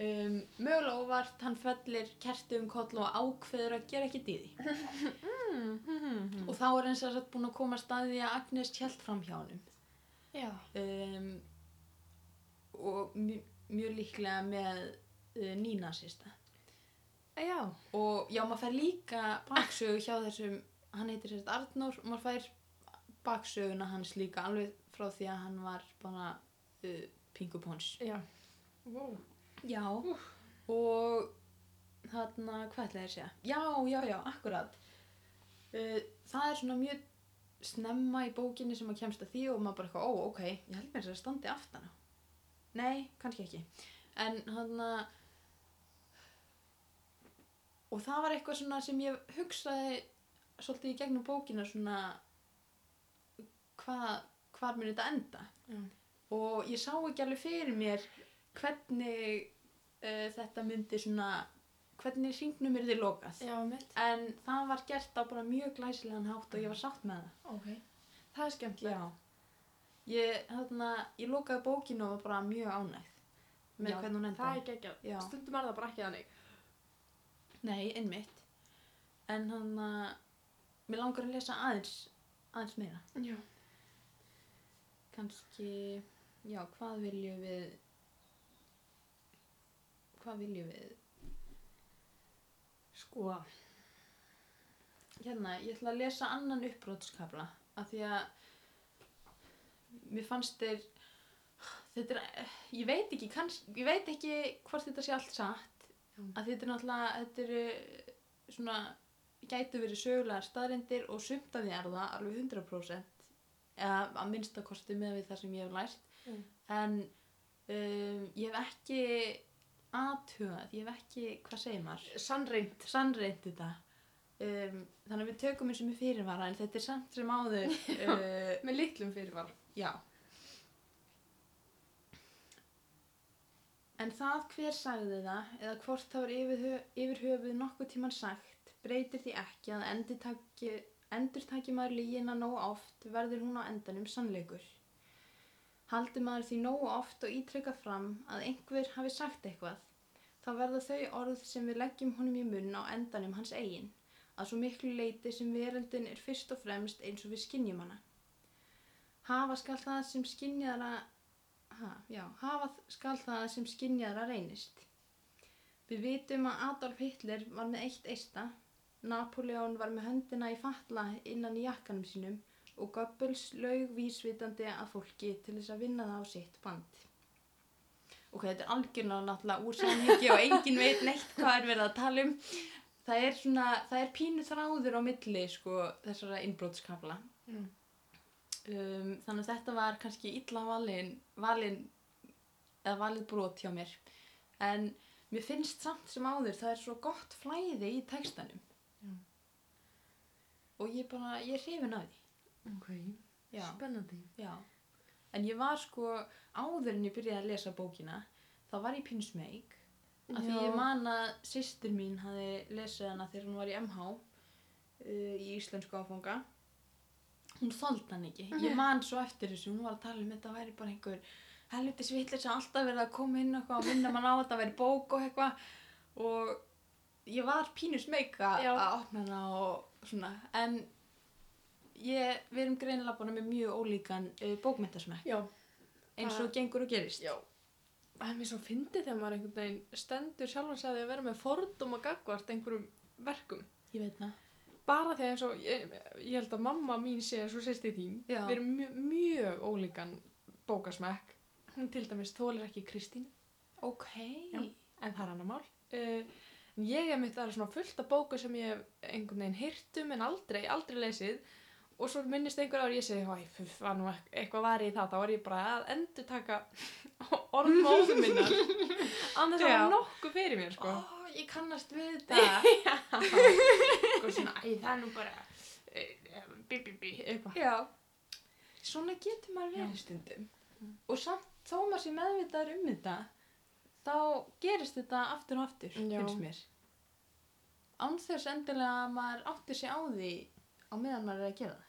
Speaker 1: um, mögulega óvart hann fellir kerti um koll og ákveður að gera ekki dýði
Speaker 2: Mm.
Speaker 1: og þá er eins og satt búin að koma að staði að Agnes tjælt fram hjá honum
Speaker 2: Já.
Speaker 1: um, og mj- mjög líklega með uh, Nína sérsta
Speaker 2: Eh, Já.
Speaker 1: og já, maður fær líka baksögu hjá þessum, hann heitir sérst Arnór og maður fær baksöguna hans líka alveg frá því að hann var bara uh, pingupons
Speaker 2: Já. Wow.
Speaker 1: já og þarna, hvað ætla ég að segja já, já, já, akkurat uh, það er svona mjög snemma í bókinni sem maður kemst að því og maður bara eitthvað, ó, ok, ég held mér þess að standi aftan á nei, kannski ekki en hann að og það var eitthvað svona sem ég hugsaði svolítið í gegnum bókina svona hvað hvar mun þetta enda
Speaker 2: Já.
Speaker 1: og ég sá ekki alveg fyrir mér hvernig uh, þetta myndi svona hvernig hringnum er þið lokað
Speaker 2: Já, mitt.
Speaker 1: en það var gert á bara mjög glæsilegan hátt og ég var sátt með það
Speaker 2: Ok. Það er skemmtilegt.
Speaker 1: Já. Ég, þarna, ég lokaði bókinu og var bara mjög ánægð með
Speaker 2: Já,
Speaker 1: hvernig hún
Speaker 2: Það
Speaker 1: endaði.
Speaker 2: er geggjað.
Speaker 1: Já.
Speaker 2: Stundum er það bara ekki þannig.
Speaker 1: Nei, einmitt. En hann að, mér langar að lesa aðeins, aðeins meira.
Speaker 2: Já.
Speaker 1: Kanski, já, hvað viljum við, hvað viljum við?
Speaker 2: Sko.
Speaker 1: Hérna, ég ætla að lesa annan uppbrotskafla af því að mér fannst þeir þetta er, ég veit ekki kanns, ég veit ekki hvort þetta sé allt satt
Speaker 2: Já.
Speaker 1: að þetta er náttúrulega þetta eru eh, svona gætu verið sögulegar staðrindir og sumt af því er það alveg 100% eða að minnsta kosti með við það sem ég hef lært
Speaker 2: Mm.
Speaker 1: en um, ég hef ekki aðtugað, ég hef ekki hvað segir maður?
Speaker 2: Sannreint.
Speaker 1: sannreitt þetta um, þannig að við tökum eins og með fyrirvara en þetta er samt sem áður uh,
Speaker 2: Með litlum fyrirvara.
Speaker 1: já en það hver sagði það eða hvort það var yfir, hö- yfir höfuð nokkuð tíman sagt breytir því ekki að endurtaki, endurtaki maður lígina nóg oft verður hún á endanum sannleikur haldi maður því nóg oft og ítrekka fram að einhver hafi sagt eitthvað þá verða þau orð sem við leggjum honum í munn á endanum hans eigin, að svo miklu leiti sem veröldin er fyrst og fremst eins og við skinjum hana. Hafa skal það sem skinjara, ha, já, hafa skal það sem skinjara reynist. Við vitum að Adolf Hitler var með eitt eista, Napoleon var með höndina í fatla innan í jakkanum sínum og Goebbels laug vísvitandi að fólki til þess að vinna það á sitt band. Ok, þetta er algjörlega náttúrulega úr samhengi og engin veit neitt hvað er verið að tala um. Það er svona, það er pínu þráður á milli, sko, þessara innbrótskafla.
Speaker 2: Mm.
Speaker 1: Um, þannig að þetta var kannski illa valin, valin, eða valið brot hjá mér. En mér finnst samt sem áður, það er svo gott flæði í textanum.
Speaker 2: Já.
Speaker 1: Og ég bara, ég er hrifin af því.
Speaker 2: Ok. Spennandi.
Speaker 1: Já, en ég var sko áður en ég byrjaði að lesa bókina, þá var ég pinsmeik af því
Speaker 2: Já.
Speaker 1: ég man að systir mín hafi lesið hana þegar hún var í MH uh, í íslensku áfanga hún þóld hann ekki,
Speaker 2: Mhm.
Speaker 1: ég man svo eftir þessu hún var að tala um þetta væri bara einhver helviti svitlis að alltaf verið að koma inn og eitthvað að minna mann á að þetta væri bók og eitthvað og ég var pínu smeyk að
Speaker 2: Já.
Speaker 1: að opna hana og svona en ég, við erum greinilega búin með mjög ólíkan uh, bókmyndasmekk
Speaker 2: Já,
Speaker 1: eins og gengur og gerist
Speaker 2: já. Það er mér svo fyndið þegar maður einhvern veginn stendur sjálfan sig að því að vera með fordóma gagvart einhverjum verkum.
Speaker 1: ég veit það
Speaker 2: Bara þegar eins og, ég, ég held að mamma mín sé svo sýsti þín,
Speaker 1: Já.
Speaker 2: við erum mjög, mjög ólíkan bókasmekk. Hún til dæmis þólir ekki Kristín,
Speaker 1: ok
Speaker 2: Já. en það er annar mál. Uh, en ég er mitt að það er svona fullt af bóku sem ég hef einhvern veginn hirtum en aldrei, aldrei lesið og svo minnist einhver ár ég segi, hæ, fuff, var nú ek- eitthvað var í það, þá var ég bara að endur taka orðmóðu minnar annars það
Speaker 1: Já.
Speaker 2: var nokkuð fyrir mér, sko
Speaker 1: Ó, ég kannast við þetta
Speaker 2: eitthvað Sko, svona, æ, það er nú bara e, e, bí, bí, bí, eitthvað
Speaker 1: já svona getur maður
Speaker 2: Já.
Speaker 1: verið stundum og samt þó maður sé meðvitaður um þetta þá gerist þetta aftur og aftur
Speaker 2: Já.
Speaker 1: finnst mér án þess endilega að maður áttur sig á því á meðan maður er að gera það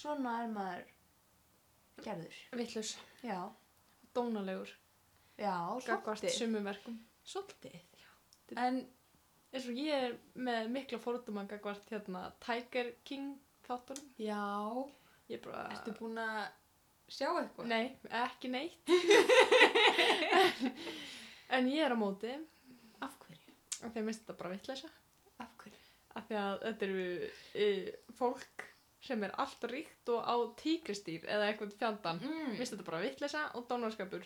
Speaker 1: svona er maður gerður
Speaker 2: vitlaus,
Speaker 1: já,
Speaker 2: dónalegur,
Speaker 1: já,
Speaker 2: gagvart
Speaker 1: svolítið
Speaker 2: sumum verkum
Speaker 1: svolítið en
Speaker 2: eins og ég er með mikla forduma gagvart hérna Tiger King þáttunum
Speaker 1: já,
Speaker 2: ég er bara,
Speaker 1: ertu búin að sjá eitthvað?
Speaker 2: nei, ekki neitt en ég er á móti
Speaker 1: af hverju?
Speaker 2: af því að minnst þetta bara vitleysa
Speaker 1: af hverju?
Speaker 2: af því að þetta eru e, fólk sem er allt ríkt og á tígristýr eða eitthvað fjandan Mér
Speaker 1: Mm.
Speaker 2: finnst þetta bara vitleysa og dónarskapur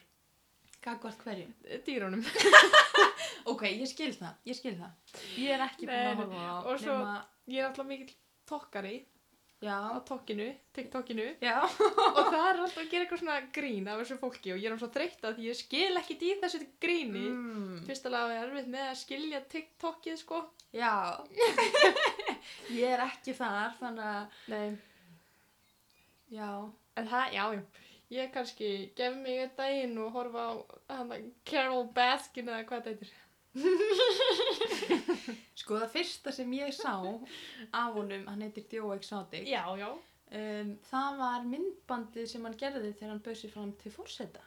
Speaker 1: gagvart hverju?
Speaker 2: eh, dýrunum
Speaker 1: Ok, ég skil það, ég skil það. Ég er ekki búin að
Speaker 2: Nei,
Speaker 1: horfa á
Speaker 2: og svo-
Speaker 1: nema...
Speaker 2: ég er alltaf mikill tokkari
Speaker 1: Já.
Speaker 2: á tokkinu, tiktokinu
Speaker 1: Já.
Speaker 2: og það er alltaf að gera eitthvað svona grín af þessu fólki og ég er alltaf þreytt að því ég skil ekki í þessu gríni mm.
Speaker 1: Mm.
Speaker 2: fyrst alveg að erfið með að skilja tiktokið sko
Speaker 1: Já. ég er ekki þar, þannig að...
Speaker 2: Nei.
Speaker 1: Já.
Speaker 2: en það, já, já ég kannski gef mig einn daginn og horfa á hana, Carol Baskin eða hvað þetta heitir
Speaker 1: Sko, það fyrsta sem ég sá af honum, hann heitir Djó Exotic,
Speaker 2: já, já,
Speaker 1: um, það var myndbandið sem hann gerði þegar hann bauð sér fram til fórseta.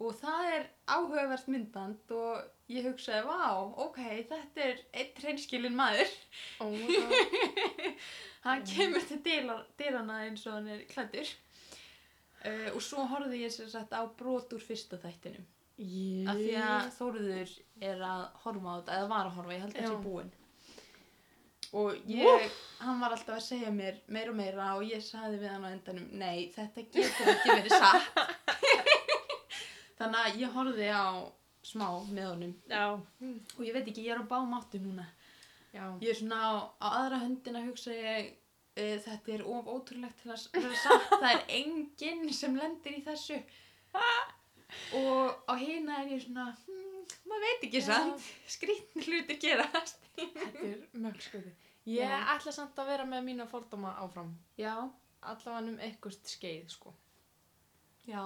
Speaker 1: Og það er áhugavert myndband og ég hugsaði, vá, ok, þetta er einn reynskilin maður.
Speaker 2: oh my god
Speaker 1: Hann
Speaker 2: Já.
Speaker 1: kemur til dyra- dyrana eins og hann er klættur. Uh, og svo horfði ég sér sagt á brot úr fyrsta þættinum. Af því að
Speaker 2: yes.
Speaker 1: Þóruður er að horfa á þetta, eða var að horfa, ég held að það sé
Speaker 2: Já.
Speaker 1: búinn. Og ég, hann var alltaf að segja mér meira og meira og ég saði við hann á endanum, nei, þetta getur ekki verið satt. Þannig að ég horfði á smá með honum
Speaker 2: já,
Speaker 1: og ég veit ekki, ég er á bámáttu núna.
Speaker 2: já
Speaker 1: Ég er svona á, á aðra höndina hugsa ég uh, þetta er of ótrúlegt til að s- vera satt, það er enginn sem lendir í þessu og á hina er ég svona hmm, maður veit ekki
Speaker 2: Já.
Speaker 1: samt skrýtni hlutir gerast
Speaker 2: þetta er mörg skoði ég
Speaker 1: Já.
Speaker 2: ætla samt að vera með mína fordóma áfram
Speaker 1: Já,
Speaker 2: allavega um eitthvað skeið sko
Speaker 1: já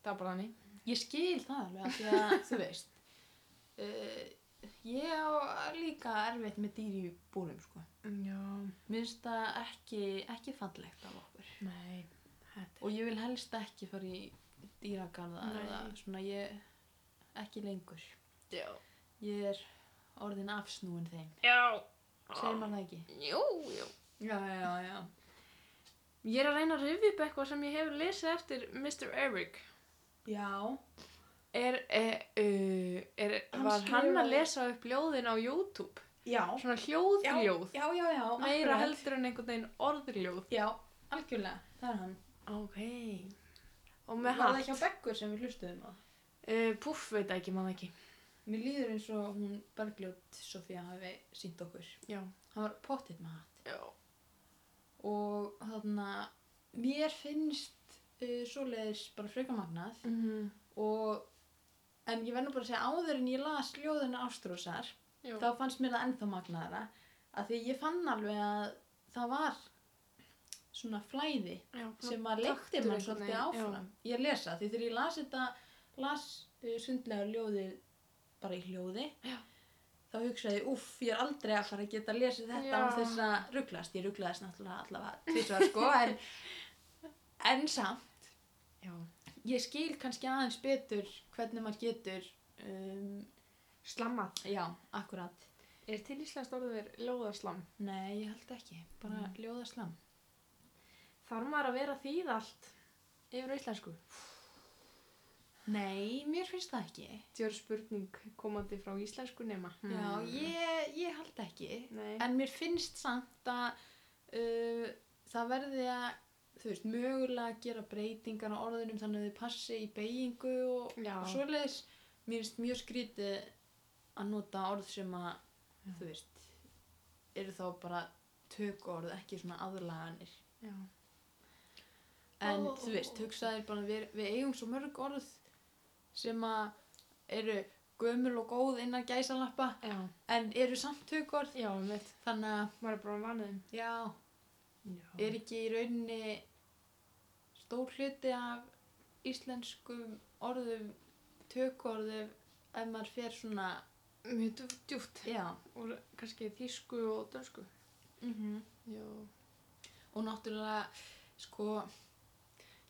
Speaker 2: það er bara þannig
Speaker 1: Ég skil það alveg af því að þú veist uh, ég á líka erfitt með dýr í búrum sko
Speaker 2: já,
Speaker 1: Mér finnst það ekki, ekki fallegt af okkur
Speaker 2: nei þetta
Speaker 1: og ég vil helst ekki fara í dýragarða
Speaker 2: Nei.
Speaker 1: eða svona ég ekki lengur
Speaker 2: já,
Speaker 1: ég er orðin afsnúin þeim
Speaker 2: já.
Speaker 1: segir maður það ekki
Speaker 2: jú, jú
Speaker 1: já, já, já
Speaker 2: Ég er að reyna að rifja upp eitthvað sem ég hefur lesið eftir Mr. Eric.
Speaker 1: já,
Speaker 2: Er, er, uh, er,
Speaker 1: Hann
Speaker 2: var hann
Speaker 1: skrifaði-
Speaker 2: að lesa upp ljóðin á YouTube?
Speaker 1: já
Speaker 2: Svona hljóðljóð.
Speaker 1: já, já, já
Speaker 2: Meira
Speaker 1: akkurat.
Speaker 2: heldur en einhvern veginn orðljóð.
Speaker 1: já, algjörlega, það er hann
Speaker 2: Ok. Og með
Speaker 1: var
Speaker 2: hann.
Speaker 1: það ekki á Beggur sem við hlustuðum á
Speaker 2: Uh, púff, veit það ekki, maður ekki.
Speaker 1: mér líður eins og hún Bergljót Sofía hafi sínt okkur
Speaker 2: Já.
Speaker 1: hann var pottitt með hatt
Speaker 2: Já.
Speaker 1: og þarna mér finnst uh, svoleiðis bara frökamagnað
Speaker 2: Mm
Speaker 1: Mhm. og en ég verð nú bara að segja áður en ég las ljóðuna Ástrúsar
Speaker 2: Já.
Speaker 1: þá fannst mér það ennþá magnaðara að því ég fann alveg að það var svona flæði
Speaker 2: Já,
Speaker 1: sem að leikti
Speaker 2: taktur
Speaker 1: mann
Speaker 2: einhvern
Speaker 1: svolítið
Speaker 2: veginn,
Speaker 1: áfram ég lesa því þegar ég eh, las þetta las uh, sundlega ljóði bara í hljóði
Speaker 2: Já.
Speaker 1: þá hugsaði, uff, ég er aldrei allar að geta lesið þetta
Speaker 2: Já.
Speaker 1: án þess að rugglast. Ég rugglaðist náttúrulega allavega tvisvar, sko, en, en samt.
Speaker 2: Já.
Speaker 1: Ég skil kannski aðeins betur hvernig maður getur, um,
Speaker 2: Slamma.
Speaker 1: já, akkurat.
Speaker 2: Er til íslenskt orðið er lóðaslam?
Speaker 1: Nei, ég held ekki, bara
Speaker 2: Mm.
Speaker 1: ljóða slam.
Speaker 2: Þarf maður að vera þýð allt yfir á íslensku?
Speaker 1: Nei, mér finnst það ekki.
Speaker 2: Þetta er spurning komandi frá íslensku nema.
Speaker 1: Já, ég, ég held ekki.
Speaker 2: Nei.
Speaker 1: En mér finnst samt að uh, það verði að, þú veist, mögulega gera breytingar á orðunum þannig að þau passi í beigingu og,
Speaker 2: Já.
Speaker 1: og svoleiðis. Mér finnst mjög skrítið að nota orð sem að,
Speaker 2: Já.
Speaker 1: þú veist, eru þá bara tökorð, ekki svona aðlaganir.
Speaker 2: Já.
Speaker 1: En
Speaker 3: Ó.
Speaker 1: þú veist, hugsaðir bara við, við eigum svo mörg orð sem að eru gömul og góð innan gæsalappa
Speaker 2: Já.
Speaker 1: en eru samt tökorð.
Speaker 2: Já, mitt.
Speaker 1: Þannig að,
Speaker 2: Maður er bara vanið.
Speaker 1: já,
Speaker 2: Já.
Speaker 1: er ekki í rauninni stór hluti af íslenskum orðum, tökorðum ef maður fer svona
Speaker 2: mjög djúpt.
Speaker 1: já,
Speaker 2: Og kannski þýsku og dönsku. Já.
Speaker 1: Mhm. og náttúrulega sko,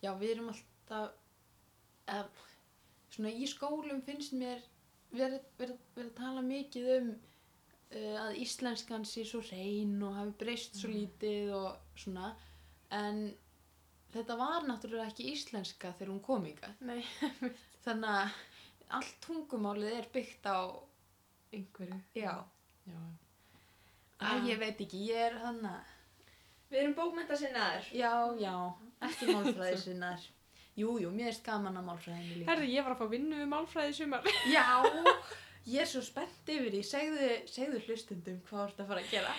Speaker 1: já við erum alltaf eða, svona í skólum finnst mér verið veri, veri að tala mikið um uh, að íslenskan sé svo reyn og hafi breyst
Speaker 2: Mhm.
Speaker 1: svo lítið og svona en þetta var náttúrulega ekki íslenska þegar hún kom ykkar
Speaker 2: Nei.
Speaker 1: þannig að allt tungumálið er byggt á
Speaker 2: Einhverju.
Speaker 1: já,
Speaker 2: Já. Ah.
Speaker 1: að ég veit ekki, ég er hann að
Speaker 2: Við erum bókmenta sinnaður.
Speaker 1: já, já, ekki málfræðir sinnar jú, jú, mér er skaman að málfræðinu líka
Speaker 2: Herði, ég var að fá vinnu um málfræði í sumar.
Speaker 1: já, ég er svo spennt yfir því segðu, segðu hlustundum hvað þú ert að fara að gera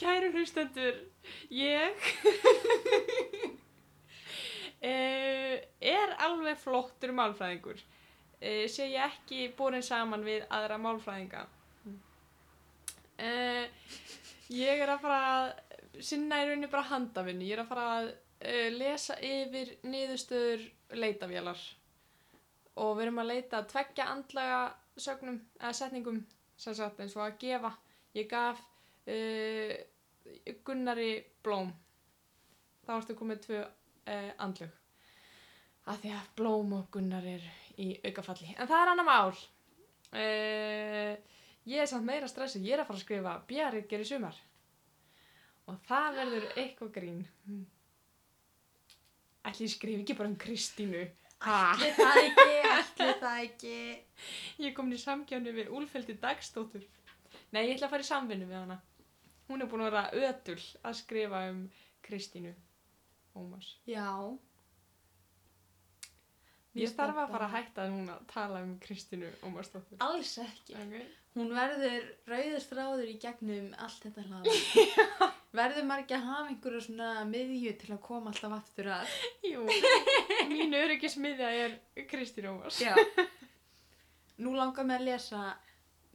Speaker 2: Kæru hlustendur, ég eh, er alveg flottur málfræðingur. Eh, Sé ég ekki borin saman við aðra málfræðinga. Eh, Ég er að fara að sinna í rauninni bara handavinnu. Ég er að fara að eh, lesa yfir niðurstöður leitavélar. Og við erum að leita að tveggja andlaga sögnum, eða setningum, sem sagt eins og að gefa. Ég gaf uh, Gunnari Blóm þá ertu komið tvö uh, andlög að því að Blóm og Gunnar er í aukafalli en það er annar mál uh, ég er samt meira stressið ég er að fara að skrifa Bjarritger í sumar og það verður eitthvað grín ætli ég skrif ekki bara um Kristínu ha?
Speaker 1: ætli það ekki, ætli það ekki
Speaker 2: Ég er komin í samkjöfni við Úlfeldi Dagstóttur. Nei, ég ætla að fara í samvinnu við hana. Hún er búin að vera ötul að skrifa um Kristínu Ómars.
Speaker 1: já
Speaker 2: Ég þarf að fara að hætta núna að tala um Kristínu Ómarsdóttur.
Speaker 1: alls ekki
Speaker 2: Okay.
Speaker 1: Hún verður rauðistráður í gegnum allt þetta hlaða. verður maður ekki að hafa einhverja svona miðju til að koma alltaf aftur að?
Speaker 2: Jú, mín öryggismiðja er Kristínu Ómars.
Speaker 1: Já. Nú langar mig að lesa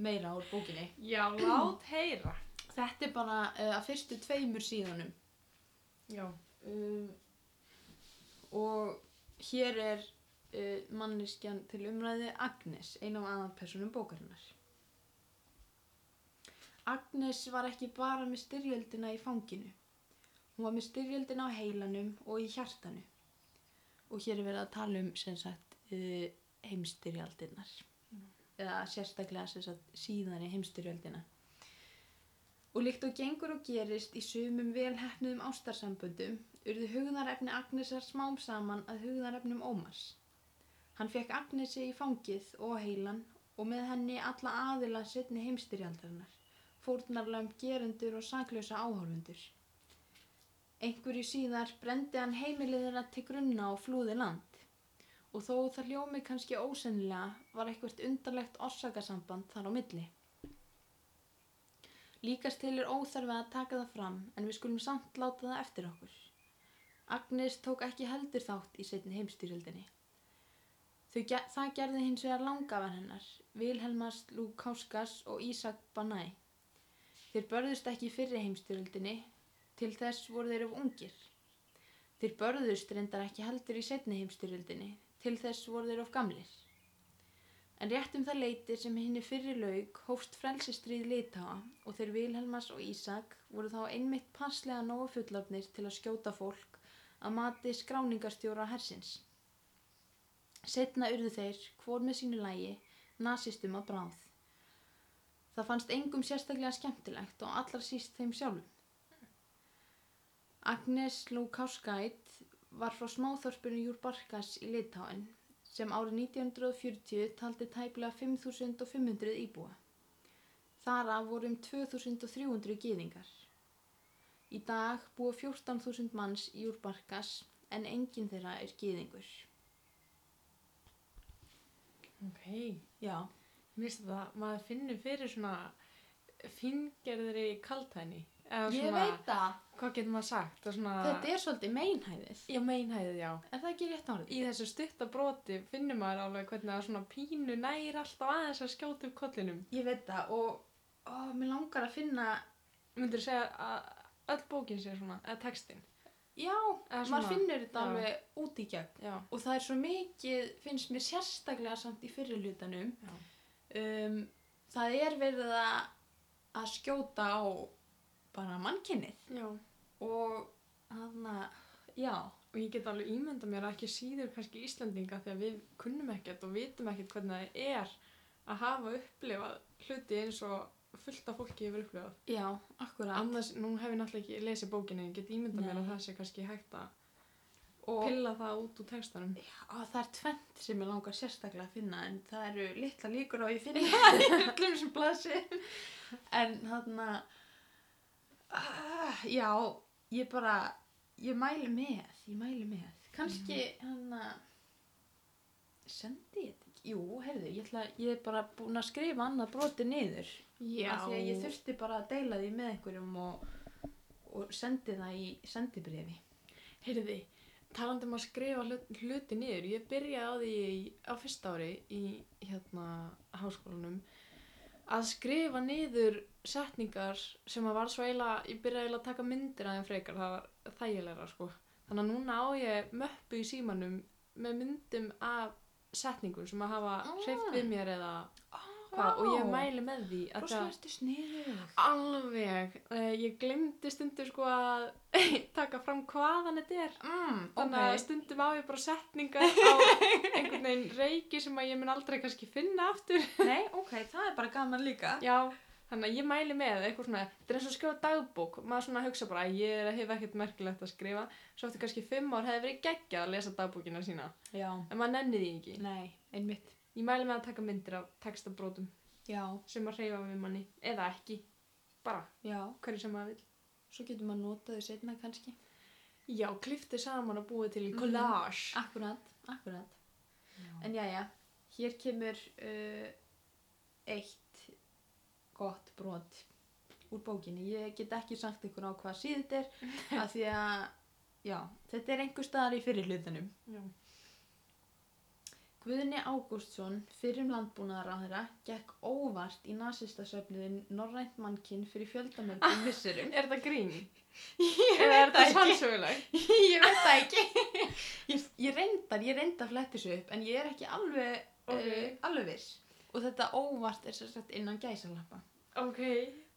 Speaker 1: meira úr bókinni.
Speaker 2: Já, lát heyra.
Speaker 1: Þetta er bara uh, að fyrstu tveimur síðunum.
Speaker 2: Já.
Speaker 1: Um, og hér er uh, manneskjan til umræði Agnes, ein af aðalpersonum bókarinnar. Agnes var ekki bara með styrjöldina í fanginu. Hún var með styrjöldina á heilanum og í hjartanu. Og hér er verið að tala um sem sagt uh, heimstyrjaldinar. Eða sérstaklega sem sagt síðan í heimstyrjöldina. Og líkt og gengur og gerist í sumum velhæfnuðum ástarsamböndum urðu hugðarefni Agnesar smám saman að hugðarefnum Ómars. Hann fekk Agnesi í fangið og heilan og með henni alla aðila setni heimstyrjaldarinnar, fórnarlöfum gerendur og saklösa áhorfundur. Einhverju síðar brendi hann heimilið þeirra til grunna og flúði land og þó það hljómi kannski ósennilega var eitthvert undarlegt orsakasamband þar á milli. Líkast til er óþarfi að taka það fram en við skulum samt láta það eftir okkur. Agnes tók ekki heldur þátt í setni heimstyrjöldinni. Þau Ge það gerði hins vegar langafan hennar, Vilhelmas Lukáskas og Ísak Banæ. Þeir börðust ekki í fyrri heimstyrjöldinni, til þess voru þeir of ungir. Þeir börðust reyndar ekki heldur í setni heimstyrjöldinni, til þess voru þeir of gamlir. En rétt um það leiti sem henni fyrir lauk hófst frelsistrið litáa og þeir Vilhelmas og Ísak voru þá einmitt passlega nógu fullofnir til að skjóta fólk að mati skráningarstjóra hersins. Setna urðu þeir, hvor með sínu lægi, nasistum að bráð. Það fannst engum sérstaklega skemmtilegt og allra síst þeim sjálfum. Agnes Lukáskætt var frá smáþorpinu Júrbarkas í Litáin sem árið 1940 taldi tæplega 5.500 íbúa. Þar af voru um 2.300 gýðingar. Í dag búa 14.000 manns í Júrbarkas en enginn þeirra er gýðingur.
Speaker 2: Ok,
Speaker 1: Já.
Speaker 2: mér finnst það, maður finnur fyrir svona fingerðri kaltæni. Eða
Speaker 1: Ég
Speaker 2: svona,
Speaker 1: veit það.
Speaker 2: Hvað getur maður sagt? Það Svona,
Speaker 1: Þetta er svolítið meinhæðið.
Speaker 2: Já, meinhæðið, já.
Speaker 1: Er það ekki rétt árið?
Speaker 2: Í þessu stutta broti finnur maður alveg hvernig það svona pínu næri alltaf aðeins að skjóta upp kollinum.
Speaker 1: Ég veit það og ó, mér langar að finna,
Speaker 2: Myndur segja að öll bókin sé svona, eða textin.
Speaker 1: já,
Speaker 2: Eða
Speaker 1: maður finnur þetta
Speaker 2: já.
Speaker 1: alveg út í gegn.
Speaker 2: Já,
Speaker 1: Og það er svo mikið, finnst mér sérstaklega samt í fyrirlutanum,
Speaker 2: já.
Speaker 1: um, það er verið að, að skjóta á bara mannkynnið
Speaker 2: Já.
Speaker 1: og hann já,
Speaker 2: Og ég get alveg ímynda mér að ekki síður kannski Íslandinga því að við kunnum ekkert og vitum ekkert hvernig það er að hafa upplifað hluti eins og fullt af fólki hefur upplifað.
Speaker 1: já, akkurat.
Speaker 2: Annars, nú hef ég náttúrulega ekki lesið bókinu, ég get ímynda mér
Speaker 1: Nei.
Speaker 2: að það sé kannski hægt að
Speaker 1: og
Speaker 2: pilla það út úr textanum.
Speaker 1: já, það er tvent sem ég langar sérstaklega að finna en það eru litla líkur á ég finna öllum sem blasi. En hann að, já, ég bara, ég mæli með, ég mæli með. Kanski hann að, sendi ég þetta ekki? Jú, heyrðu, ég, ætla, ég er bara búin að skrifa annað broti niður.
Speaker 2: Já.
Speaker 1: af því að ég þurfti bara að deila því með einhverjum og, og sendi það í sendibrifi
Speaker 2: Heyrði, talandi um að skrifa hlut, hluti niður, ég byrjaði á því í- á fyrsta ári í hérna háskólanum að skrifa niður setningar sem að var svo eiginlega, ég byrjaði eiginlega að taka myndir aðeins frekar, það var þægilegra sko. Þannig að núna á ég möppu í símanum með myndum af setningum sem að hafa
Speaker 1: Ah.
Speaker 2: hreift við mér eða hvað og ég mæli með því að það-
Speaker 1: Róslæstu sniður
Speaker 2: Alveg, uh, ég glemdi stundur sko að taka fram hvaðan þetta er
Speaker 1: mm,
Speaker 2: Þannig að
Speaker 1: okay.
Speaker 2: stundum á ég bara setningar á einhvern veginn reiki sem að ég mun aldrei kannski finna aftur.
Speaker 1: Nei, ok, það er bara gaman líka
Speaker 2: Já, þannig að ég mæli með eitthvað svona, þetta er eins og að skrifa dagbók, maður svona hugsa bara að ég er hef ekkert merkilegt að skrifa, svo eftir kannski fimm ár hefði verið geggjað að lesa dagbókina sína,
Speaker 1: Já,
Speaker 2: en maður nenni því ekki.
Speaker 1: nei, einmitt
Speaker 2: Ég mæli með að taka myndir af textabrótum
Speaker 1: Já,
Speaker 2: sem að reyfa við manni, eða ekki, bara
Speaker 1: já,
Speaker 2: hverju sem maður vil.
Speaker 1: svo getur maður notað þau setna kannski
Speaker 2: Já, kliftið saman að búa til
Speaker 1: Mhm.
Speaker 2: collage.
Speaker 1: Akkurat, akkurat
Speaker 2: Já.
Speaker 1: En já, já, hér kemur uh, eitt gott brot úr bókinni. Ég get ekki sagt ykkur á hvað síð þetta er af því að, já, þetta er einhver staðar í fyrir hlutunum.
Speaker 2: Já.
Speaker 1: Guðni Ágústsson, fyrrum landbúnaðaráðherra, gekk óvart í nasistasöfniðin Norrænt mannkinn fyrir fjöldamöndum missurum.
Speaker 2: Er þetta grín?
Speaker 1: Ég
Speaker 2: Eða er
Speaker 1: veit
Speaker 2: þetta
Speaker 1: það ekki.
Speaker 2: sannsöguleg?
Speaker 1: ég veit það ekki. Ég, ég reyndar, ég reyndar flett þessu upp, en ég er ekki alveg,
Speaker 2: Ok.
Speaker 1: okay. alveg viss. Og þetta óvart er sér sett innan gæsalappa.
Speaker 2: Ok.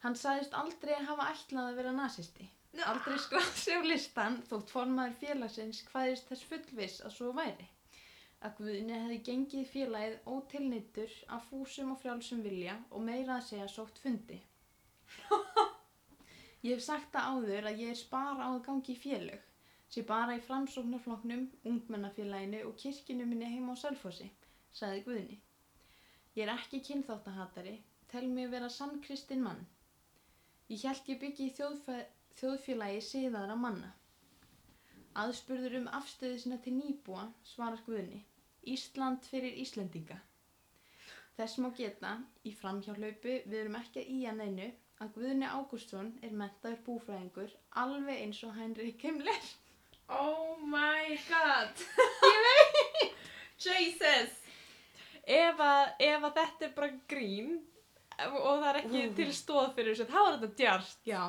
Speaker 1: Hann sagðist aldrei hafa ætlað að vera nasisti. Aldrei skráð sig á listan þótt formaður félagsins hvaðist þess fullviss að svo væri. Að Guðni hefði gengið félagið ótilneittur af fúsum og frjálsum vilja og meira að segja sótt fundi. ég hef sagt það áður að ég er spara á að gangi í félög, sé bara í framsóknarflokknum, ungmennafélaginu og kirkinu minni heima á Selfossi, sagði Guðni. Ég er ekki kynþáttahatari, tel mig vera sannkristinn mann. Ég held ég byggi í þjóðfæ... þjóðfélagi siðaðra manna. Aðspurður um afstöðu sinna til nýbúa svarar Guðni. Ísland fyrir Íslendinga. Þess má geta, í framhjálaupu, við erum ekki í að neinu, að Guðni Ágústsson er mentaður búfræðingur alveg eins og Heinrich Himmler.
Speaker 2: Oh my god. Ég veit. Jesus. Ef að, ef að þetta er bara grín og það er ekki
Speaker 1: Ú.
Speaker 2: til stóð fyrir þessu, þá er þetta djart.
Speaker 1: Já.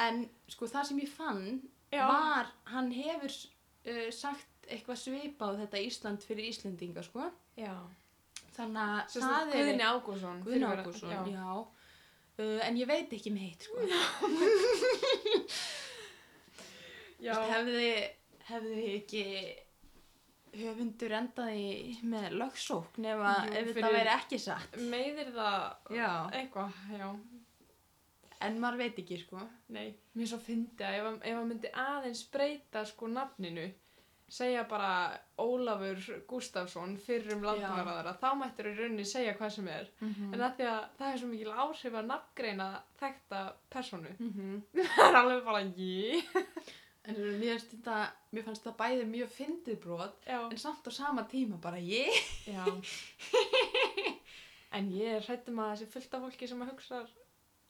Speaker 1: En sko það sem ég fann
Speaker 2: Já.
Speaker 1: var, hann hefur uh, sagt eitthvað svipað þetta Ísland fyrir Íslendinga sko.
Speaker 2: Já.
Speaker 1: Þannig að
Speaker 2: Sem sagt,
Speaker 1: er-
Speaker 2: Guðni Ágúrsson
Speaker 1: Guðni
Speaker 2: fyrrverandi-
Speaker 1: Ágúrsson,
Speaker 2: já.
Speaker 1: já. Uh, en ég veit ekki með hitt, sko.
Speaker 2: Já.
Speaker 1: Hefði, hefði ekki höfundur endaði með lögsókn ef, að-
Speaker 2: Jú,
Speaker 1: ef
Speaker 2: fyrir-
Speaker 1: þetta væri ekki satt.
Speaker 2: meiðir það
Speaker 1: Já.
Speaker 2: eitthvað, já,
Speaker 1: En maður veit ekki, sko.
Speaker 2: nei mér er svo fyndi að ef, hann- ef að myndi aðeins breyta sko nafninu segja bara Ólafur Gustafsson fyrrum landvarðara, þá mættur í rauninni segja hvað sem er, en að því að það er svo mikil áhrif að nafngreina þekta personu, það er alveg bara ég,
Speaker 1: mhm. En mér finnst þetta, mér fannst þetta bæði mjög fyndið brot,
Speaker 2: já,
Speaker 1: en samt á sama tíma bara ég.
Speaker 2: já en ég er hrættum að þessi fullt af fólki sem að hugsa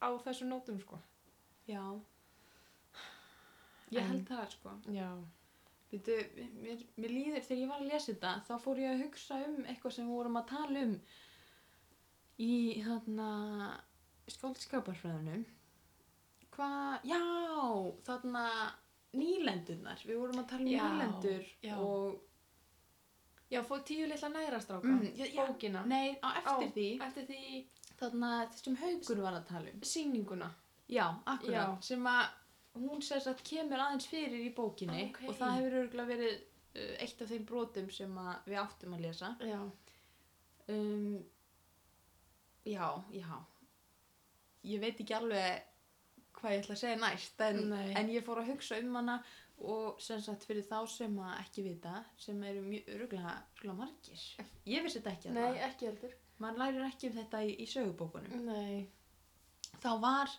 Speaker 2: á þessu nótum sko,
Speaker 1: Já. Ég
Speaker 2: En-
Speaker 1: held það, sko.
Speaker 2: já,
Speaker 1: Veitu, mér, mér líður þegar ég var að lesa þetta þá fór ég að hugsa um eitthvað sem við vorum að tala um í hérna, þarna skóldskaparfræðunum hvað, já þarna nýlendurnar við vorum að tala um
Speaker 2: Já,
Speaker 1: nýlendur
Speaker 2: já.
Speaker 1: og
Speaker 2: já, fóð tíu litla nærastráka
Speaker 1: mm, já, já,
Speaker 2: bókina
Speaker 1: nei, á eftir
Speaker 2: Á.
Speaker 1: því
Speaker 2: eftir því
Speaker 1: þarna þessum haugur var að tala um
Speaker 2: sýninguna
Speaker 1: já, akkurat,
Speaker 2: Já.
Speaker 1: sem að hún sér að kemur aðeins fyrir í bókinni
Speaker 2: Ókei.
Speaker 1: og það hefur örgulega verið uh, eitt af þeim brotum sem að við áttum að lesa
Speaker 2: já,
Speaker 1: Um, já, já. Ég veit ekki alveg hvað ég ætla að segja næst, en,
Speaker 2: Nei.
Speaker 1: en ég fór að hugsa um hana og sem sagt fyrir þá sem að ekki vita, sem eru mjög öruglega margir. Ég vissi þetta ekki að
Speaker 2: nei,
Speaker 1: það.
Speaker 2: ekki heldur
Speaker 1: Man lærir ekki um þetta í, í sögubókunum.
Speaker 2: nei,
Speaker 1: Þá var,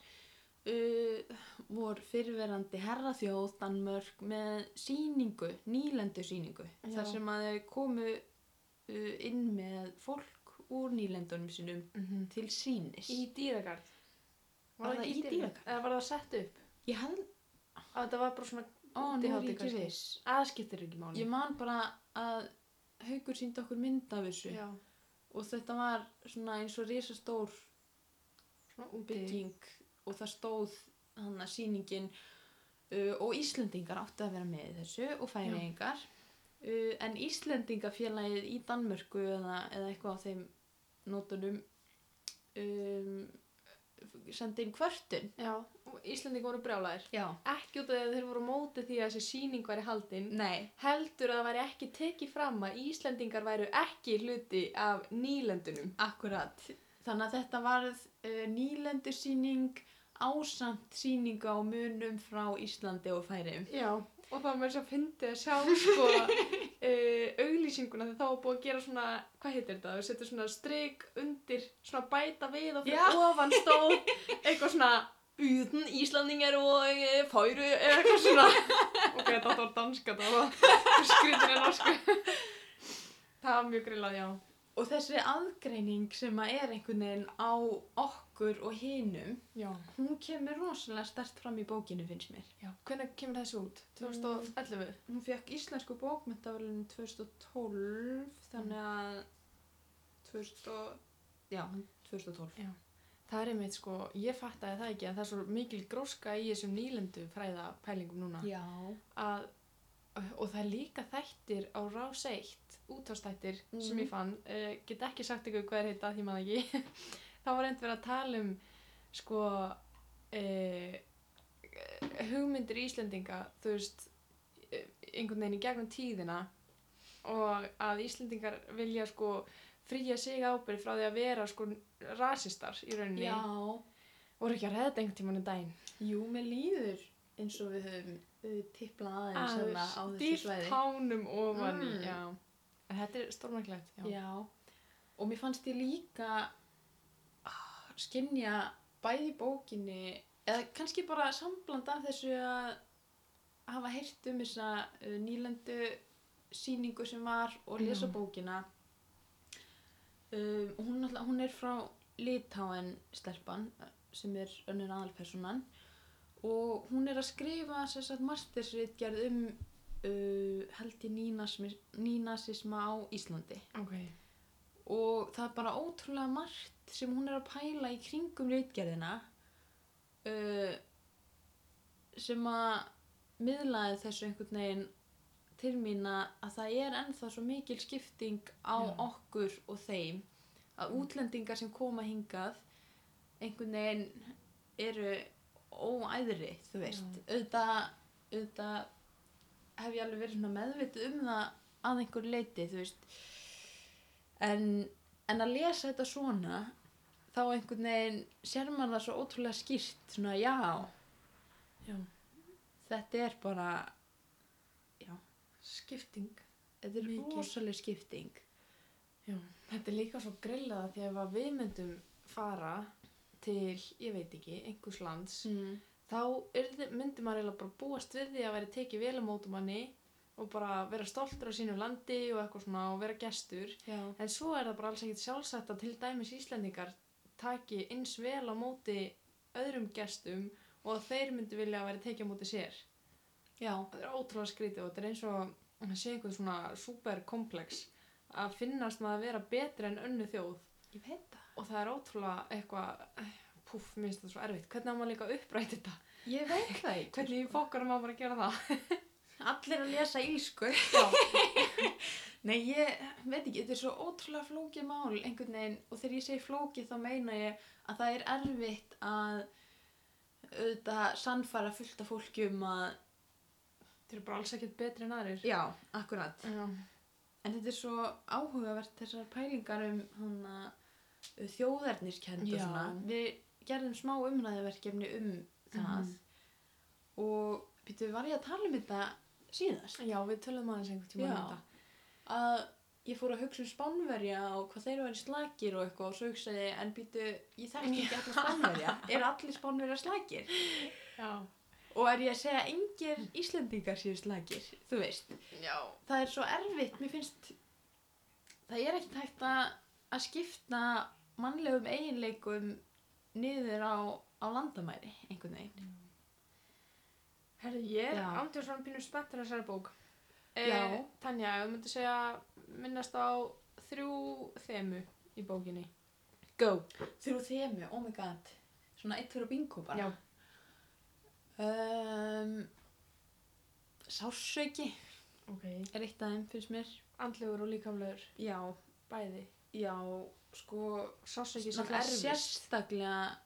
Speaker 1: uh, vor fyrverandi herraþjóð Danmörk með sýningu, nýlendu sýningu,
Speaker 2: Já.
Speaker 1: þar sem að þau komu uh, inn með fólk úr nýlendunum sínum
Speaker 2: Mhm.
Speaker 1: til sínis
Speaker 2: í dýragarð
Speaker 1: Var það í dýragarð?
Speaker 2: eða var það sett upp
Speaker 1: ég held,
Speaker 2: að þetta var bara svona
Speaker 1: ó, nú er
Speaker 2: Útihátíð
Speaker 1: ég ekki
Speaker 2: kannski.
Speaker 1: viss
Speaker 2: aðskiptir ekki máli
Speaker 1: ég man bara að haugur síndi okkur mynd af þessu
Speaker 2: já,
Speaker 1: og þetta var svona eins og risastór
Speaker 2: svona úti
Speaker 1: bygging og það stóð hann að sýningin uh, og Íslendingar áttu að vera með í þessu og færiðingar uh, en Íslendingafélagið í Danmörku eða, eða eitthvað á þeim nótunum um, sendi inn kvörtun
Speaker 2: já, og Íslandingar voru brjálæðir
Speaker 1: já,
Speaker 2: ekki út af því að þeir voru á móti því að þessi sýning væri haldin
Speaker 1: nei
Speaker 2: heldur að það væri ekki tekið fram að Íslandingar væru ekki hluti af nýlendunum
Speaker 1: Akkurat. Þannig að þetta varð uh, nýlendursýning ásamt sýninga á munum frá Íslandi og færiðum.
Speaker 2: Já, og það var mér svo að fyndi að sjá sko uh, auglýsinguna þegar þá var búið að gera svona, hvað heitir þetta, þau setja svona strik undir, svona bæta við og fyrir
Speaker 1: Já.
Speaker 2: ofan stóð eitthvað svona utan Íslandingar og eh, færu eða eitthvað svona ok, þetta var danska, það var skritin en norsku sko. það var mjög grillað, já
Speaker 1: Og þessi aðgreining sem að er einhvern veginn á okkur og hinum,
Speaker 2: Já,
Speaker 1: hún kemur rosalega stert fram í bókinu finnst mér.
Speaker 2: já. Mm. hvernig kemur þessi út? 2011?
Speaker 1: Hún fekk íslensku bókmyndavælunum 2012, þannig að 2000, og- já, 2012.
Speaker 2: Já, það er einmitt sko, ég fattaði það ekki en það er svo mikil gróska í þessum nýlendu fræða pælingum núna
Speaker 1: Já.
Speaker 2: að, og það er líka þættir á rás eitt, útvarstættir
Speaker 1: Mhm.
Speaker 2: sem ég fann, uh, get ekki sagt ykkur hvað er heita því maður ekki þá var einnig verið að tala um sko uh, hugmyndir Íslendinga þú veist eh, einhvern veginn í gegnum tíðina og að Íslendingar vilja sko fríja sig ábyrð frá því að vera sko rasistar í rauninni
Speaker 1: Já.
Speaker 2: voru ekki að reða þetta einhvern tímann um daginn
Speaker 1: Jú, mér líður eins og við höfum uh, tiplað aðeins hérna á þessu
Speaker 2: dýrt
Speaker 1: svæði.
Speaker 2: hánum ofan í,
Speaker 1: Mm.
Speaker 2: já. En þetta er stórmæklegt, já.
Speaker 1: Já, og mér fannst ég líka ah, skynja bæði í bókinni, eða kannski bara sambland af þessu að hafa heyrt um þessa uh, nýlendu sýningu sem var og lesa
Speaker 2: Já.
Speaker 1: bókina. Um, hún, alltaf, hún er frá Litáen stelpan eh, sem er önnur aðalpersonan og hún er að skrifa sem sagt mastersritgerð um uh, held ég nýnasmi- nýnasisma á Íslandi
Speaker 2: Ok.
Speaker 1: og það er bara ótrúlega margt sem hún er að pæla í kringum reitgerðina uh, sem að miðlaði þessu einhvern veginn til mín að að það er ennþá svo mikil skipting á
Speaker 2: Já.
Speaker 1: okkur og þeim að útlendingar sem koma hingað einhvern veginn eru óæðri, þú veist auðvitað, auðvitað hef ég alveg verið svona meðvitið um það að einhver leiti, þú veist en, en að lesa þetta svona þá einhvern veginn sér maður það svo ótrúlega skýrt, svona já
Speaker 2: Já.
Speaker 1: þetta er bara
Speaker 2: skipting
Speaker 1: þetta er
Speaker 2: Mikið.
Speaker 1: rosaleg skipting
Speaker 2: Þetta er líka svo grillaða því ef að við myndum fara til, ég veit ekki, einhvers lands
Speaker 1: mm.
Speaker 2: þá yrði, myndi maður eiginlega bara búast við því að væri tekið vel á mótum manni og bara vera stoltur á sínum landi og eitthvað svona og vera gestur
Speaker 1: já,
Speaker 2: en svo er það bara alls ekkit sjálfsagt að til dæmis Íslendingar taki eins vel á móti öðrum gestum og að þeir myndi vilja að væri tekið á móti sér
Speaker 1: já,
Speaker 2: það er ótrúlega skrítið og þetta er eins og það sé einhver svona superkomplex að finnast maður að vera betri en önnu þjóð
Speaker 1: ég veit það
Speaker 2: og það er ótrúlega eitthvað púf, minnst þetta svo erfitt, hvernig á maður líka upprætt þetta
Speaker 1: ég veit það ekki
Speaker 2: hvernig í fókar maður bara að gera það
Speaker 1: Allir að lesa ílsku. Nei, ég veit ekki, þetta er svo ótrúlega flókið mál einhvern veginn og þegar ég segi flókið þá meina ég að það er erfitt að auðvitað sannfara fullt af fólki um að
Speaker 2: Þeir eru bara alls ekkert betri en aðrir.
Speaker 1: Já, akkurat.
Speaker 2: Já.
Speaker 1: En þetta er svo áhugavert þessar pælingar um hana, þjóðerniskennd og
Speaker 2: Já.
Speaker 1: svona. Við gerðum smá umræðaverkefni um það
Speaker 2: Mhm.
Speaker 1: og býttu, var ég að tala um þetta síðast?
Speaker 2: Já, við töluðum aðeins einhvern um tíma
Speaker 1: Já. að ég fór að hugsa um Spánverja og hvað þeir eru slagir og eitthvað og svo hugsaði ég, en býtu, ég þekki ekki allir Spánverja er allir Spánverja slagir
Speaker 2: Já.
Speaker 1: og er ég að segja að engir Íslendingar séu slagir þú veist,
Speaker 2: Já.
Speaker 1: það er svo erfitt mér finnst það er ekkert hægt að, að skipta mannlegum eiginleikum niður á, á landamæri einhvern veginn
Speaker 2: Herðu, ég er
Speaker 1: Já.
Speaker 2: andjóð svona pínum spenntur að þessari bók. Eh,
Speaker 1: Já.
Speaker 2: Tanja, ef þú myndir segja minnast á þrjú þemu í bókinni.
Speaker 1: Go! Þrjú þemu, oh my god svona eitt fyrir bingo bara
Speaker 2: Já.
Speaker 1: Um, sásauki
Speaker 2: Ok.
Speaker 1: er eitt af þeim, finnst mér.
Speaker 2: Andlegur og líkamlegur,
Speaker 1: Já,
Speaker 2: bæði.
Speaker 1: já, sko,
Speaker 2: Sásauki sem
Speaker 1: náttúrulega
Speaker 2: erfist.
Speaker 1: sérstaklega,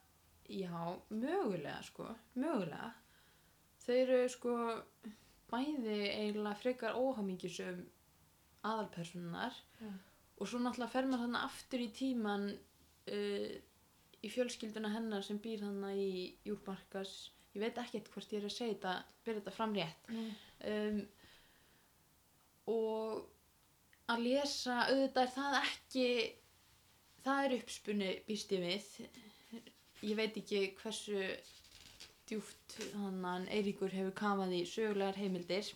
Speaker 1: já, mögulega, sko, mögulega. Þau eru, sko, bæði eiginlega frekar óhamingisum aðalpersonunar
Speaker 2: Já.
Speaker 1: og svo náttúrulega fer maður þannig aftur í tíman uh, í fjölskylduna hennar sem býr þannig í Júrmarkas. Ég veit ekkert hvort ég er að segja þetta, byrja þetta fram rétt.
Speaker 2: Mm.
Speaker 1: um, og að lesa auðvitað er það ekki það er uppspunni býst ég við ég veit ekki hversu djúft þannan Eiríkur hefur kafað í sögulegar heimildir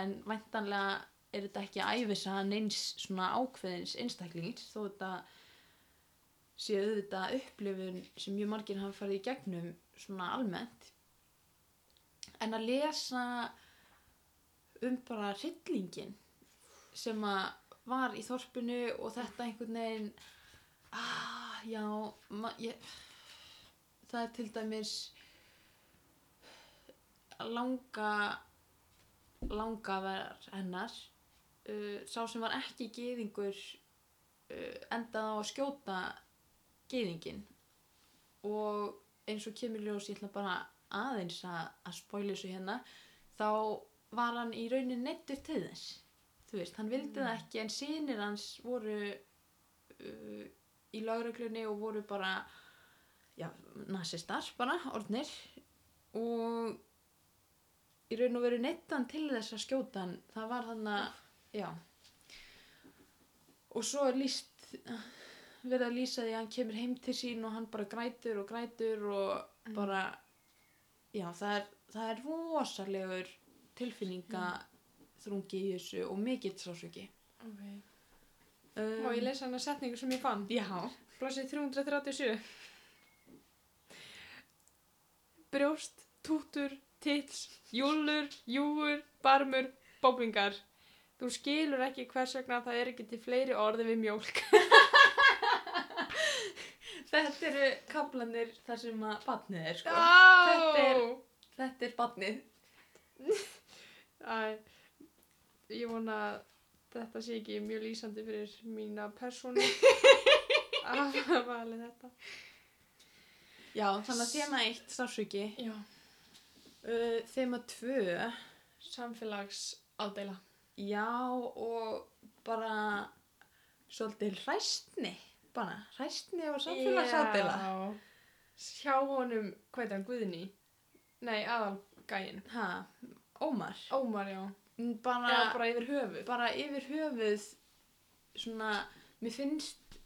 Speaker 1: en væntanlega er þetta ekki æfisa neins svona ákveðins einstaklings þó þetta sé auðvitað upplifun sem mjög margir hafa farið í gegnum svona almennt en að lesa um bara hryllingin sem að var í þorpinu og þetta einhvern veginn ah, já ma, ég, það er til dæmis langa langaverðar hennar uh, sá sem var ekki geðingur uh, endað á að skjóta geðingin og eins og kemur í ljós ég ætla bara aðeins að, að spóli þessu hérna þá var hann í raunin neittur til þess þú veist, hann vildi það ekki en sínir hans voru uh, í lauruglunni og voru bara já, nasistar bara, orðnir og í raun og veru neittan til þess að skjóta hann það var þannig að já og svo er líst verið að lýsa því að hann kemur heim til sín og hann bara grætur og grætur og
Speaker 2: Mm.
Speaker 1: bara já það er, það er rosalegur tilfinninga þrungi í þessu og mikill sásöki
Speaker 2: Ok.
Speaker 1: um,
Speaker 2: Má ég lesa hana setningu sem ég fann?
Speaker 1: Já,
Speaker 2: Blossið 337 Brjóst, tútur, tits, júlur, júur, barmur, bóblingar Þú skilur ekki hvers vegna það er ekki til fleiri orði við mjólk
Speaker 1: þetta eru kaplanir þar sem að batnið er sko
Speaker 2: Þetta er
Speaker 1: Þetta er batnið
Speaker 2: Æ, Ég vona að þetta sé ekki mjög lýsandi fyrir mína persónu hafa valið þetta.
Speaker 1: Já, þannig að þema eitt sársöki.
Speaker 2: Já,
Speaker 1: Uh, þema tvö,
Speaker 2: samfélags ádeila.
Speaker 1: já og bara svolítið hræstni, bara hræstni og samfélagsátila.
Speaker 2: Hjá honum, hvað er hann, Guðni? Nei, aðalgæin.
Speaker 1: Ha, Ómar.
Speaker 2: Ómar, já.
Speaker 1: Mm,
Speaker 2: Já,
Speaker 1: Bara,
Speaker 2: bara yfir höfuð.
Speaker 1: bara yfir höfuð, svona, mér finnst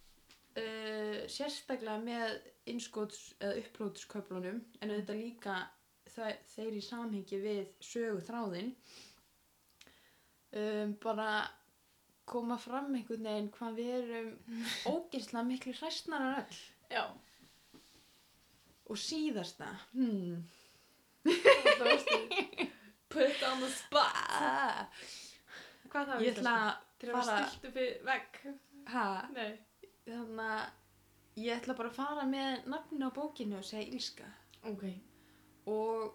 Speaker 1: uh, sérstaklega með innskots eða upprótsköflunum,
Speaker 2: Mm.
Speaker 1: en þetta líka þa- þeir í samhengi við sögu þráðinn, um, bara koma fram einhvern veginn hvað við erum ógeðslega miklu hræstnar en öll
Speaker 2: Já.
Speaker 1: og síðasta hmm.
Speaker 2: Það varst því.
Speaker 1: put on the spot
Speaker 2: Hvað það sko.
Speaker 1: ég ætla
Speaker 2: Til
Speaker 1: að
Speaker 2: að
Speaker 1: fara
Speaker 2: vera stilt upp við vegg.
Speaker 1: ha,
Speaker 2: Nei.
Speaker 1: þannig að ég ætla bara að fara með nafninu á bókinu og segja Ílska
Speaker 2: Ok.
Speaker 1: og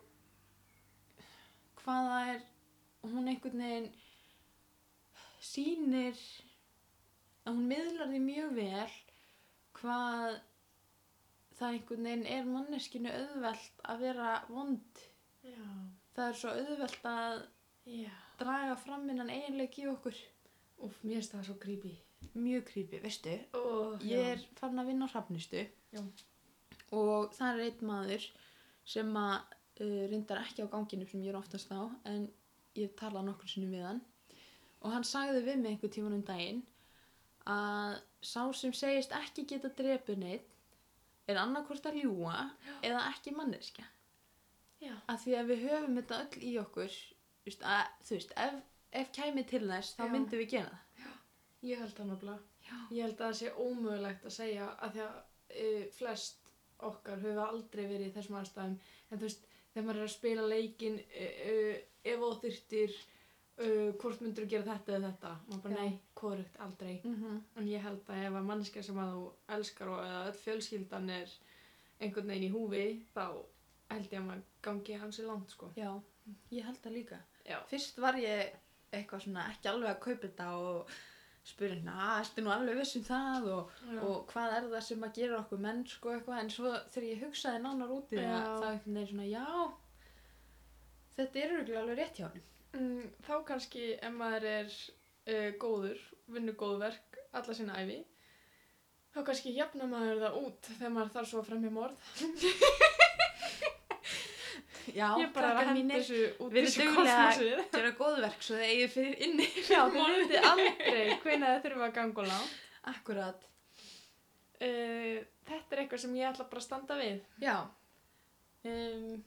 Speaker 1: hvaða er hún einhvern veginn sýnir að hún miðlar því mjög vel hvað það einhvern veginn er manneskinu auðvelt að vera vond
Speaker 2: Já.
Speaker 1: það er svo auðvelt að
Speaker 2: Já.
Speaker 1: draga fram innan eiginleiki í okkur
Speaker 2: Úf, mér finnst það svo creepy.
Speaker 1: mjög creepy, veistu
Speaker 2: Oh,
Speaker 1: ég er farin að vinna á hrafnistu
Speaker 2: Já.
Speaker 1: og það er einn maður sem að uh, reyndar ekki á ganginum sem ég er oftast á en ég hef talað nokkur sinnum við hann og hann sagði við mig einhver tíman um daginn að sá sem segist ekki geta drepið neitt er annarkvort að ljúa eða ekki manneskja
Speaker 2: Já.
Speaker 1: að því að við höfum þetta öll í okkur þú veist, að, þú veist ef, ef kæmi til þess þá
Speaker 2: Já.
Speaker 1: myndum við gera það
Speaker 2: Ég held það nefnilega.
Speaker 1: Já.
Speaker 2: Ég held að það sé ómögulegt að segja að því að uh, flest okkar höfum aldrei verið í þessum aðstæðum. En þú veist, þegar maður er að spila leikin, uh, uh, ef og þyrtir, uh, hvort myndur gera þetta eða þetta? Maður bara,
Speaker 1: Já.
Speaker 2: nei, hvorugt, aldrei.
Speaker 1: mm -hmm.
Speaker 2: En ég held að ef að mannskja sem að þú elskar og eða öll fjölskyldan er einhvern veginn í húfi, þá held ég að maður gangi hansi langt, sko.
Speaker 1: Já, ég held það líka
Speaker 2: Já.
Speaker 1: Fyrst var ég eitthvað svona ekki alveg að kaupa þetta og spurði hérna, að ertu nú alveg viss um það og,
Speaker 2: Og,
Speaker 1: og hvað er það sem að gera okkur menn sko eitthvað en svo þegar ég hugsaði nánar út í það
Speaker 2: Já.
Speaker 1: þá einhvern veginn svona, já þetta er örugglega alveg rétt hjá hann
Speaker 2: mm, þá kannski ef maður er uh, góður, vinnur góð verk alla sinna æfi, þá kannski jafna maður það út þegar maður þarf svo að fremja morð.
Speaker 1: Já,
Speaker 2: ég bara er að
Speaker 1: krakkar
Speaker 2: henda
Speaker 1: mínir,
Speaker 2: þessu út í
Speaker 1: verið
Speaker 2: þessu
Speaker 1: duglegar.
Speaker 2: kosmosið.
Speaker 1: gera góðverk svo þið eigið fyrir inni
Speaker 2: Já, þið veitir aldrei hvenær það þurfa að ganga og langt.
Speaker 1: Akkurat,
Speaker 2: Uh, þetta er eitthvað sem ég ætla bara að standa við.
Speaker 1: já um,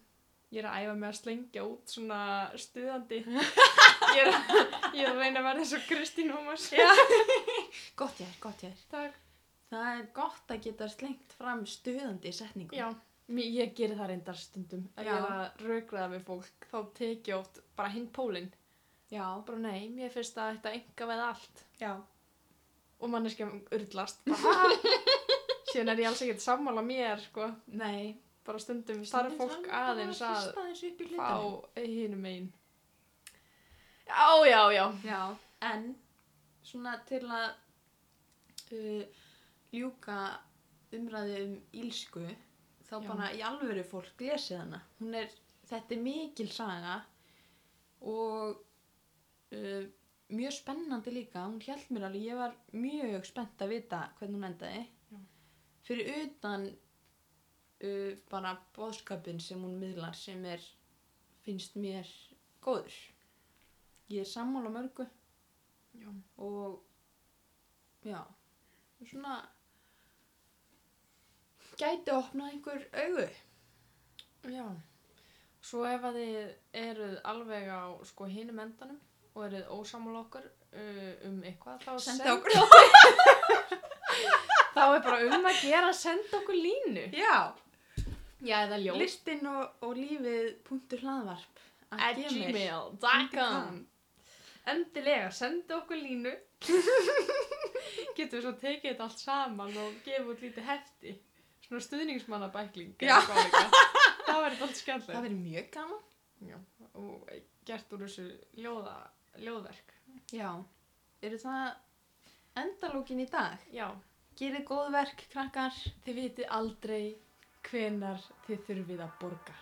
Speaker 2: Ég er að æfa mig að slengja út svona stuðandi. ég, er að, ég er að reyna að verða eins og Kristín Ómars. Já.
Speaker 1: Gott ég er, gott ég er
Speaker 2: Takk.
Speaker 1: Það er gott að geta slengt fram stuðandi setningu
Speaker 2: Já. Mér, ég ger það reyndar stundum. Að ég
Speaker 1: Já.
Speaker 2: er að raugraða við fólk. Þá tek ég oft bara hinn pólinn.
Speaker 1: Já,
Speaker 2: Bara nei, mér finnst að þetta enga veið allt.
Speaker 1: já.
Speaker 2: Og manneskjum urðlast. Bara, Síðan er ég alls ekkert sammála mér, sko.
Speaker 1: Nei,
Speaker 2: Bara stundum þarf fólk aðeins að fá hinu megin. Já, já, já.
Speaker 1: Já, en svona til að uh, ljúka umræðu um ílsku þá
Speaker 2: Já.
Speaker 1: bara í alvöru fólk lesið hana. Hún er, þetta er mikil saga og uh, mjög spennandi líka. Hún held mér alveg, ég var mjög spennt að vita hvernig hún endaði.
Speaker 2: Já.
Speaker 1: Fyrir utan uh, bara bóðskapin sem hún miðlar sem er, finnst mér góður. Ég er sammála mörgu
Speaker 2: Já.
Speaker 1: og já, svona gæti opnað einhver augu.
Speaker 2: Já, svo ef að þið eruð alveg á sko hinum endanum og eruð ósamála okkur uh, um eitthvað, þá,
Speaker 1: Senda
Speaker 2: send-
Speaker 1: okkur.
Speaker 2: þá er bara um að gera að senda okkur línu.
Speaker 1: Já,
Speaker 2: Já, eða ljó.
Speaker 1: listin og, og lífið punktur hlaðvarp.
Speaker 2: At gmail.com Endilega, senda okkur línu. Getum við svo tekið þetta allt saman og gefa út lítið hefti. Svona stuðningsmannabækling.
Speaker 1: Já.
Speaker 2: eða eitthvað álíka. Það verður alltaf skemmtilegt.
Speaker 1: Það verður mjög gaman.
Speaker 2: Já, og gert úr þessu ljóða, ljóðverk.
Speaker 1: Já, eru það endalókin í dag?
Speaker 2: Já,
Speaker 4: Gerið góð verk, krakkar.
Speaker 2: Þið vitið aldrei hvenar þið þurfið að borga.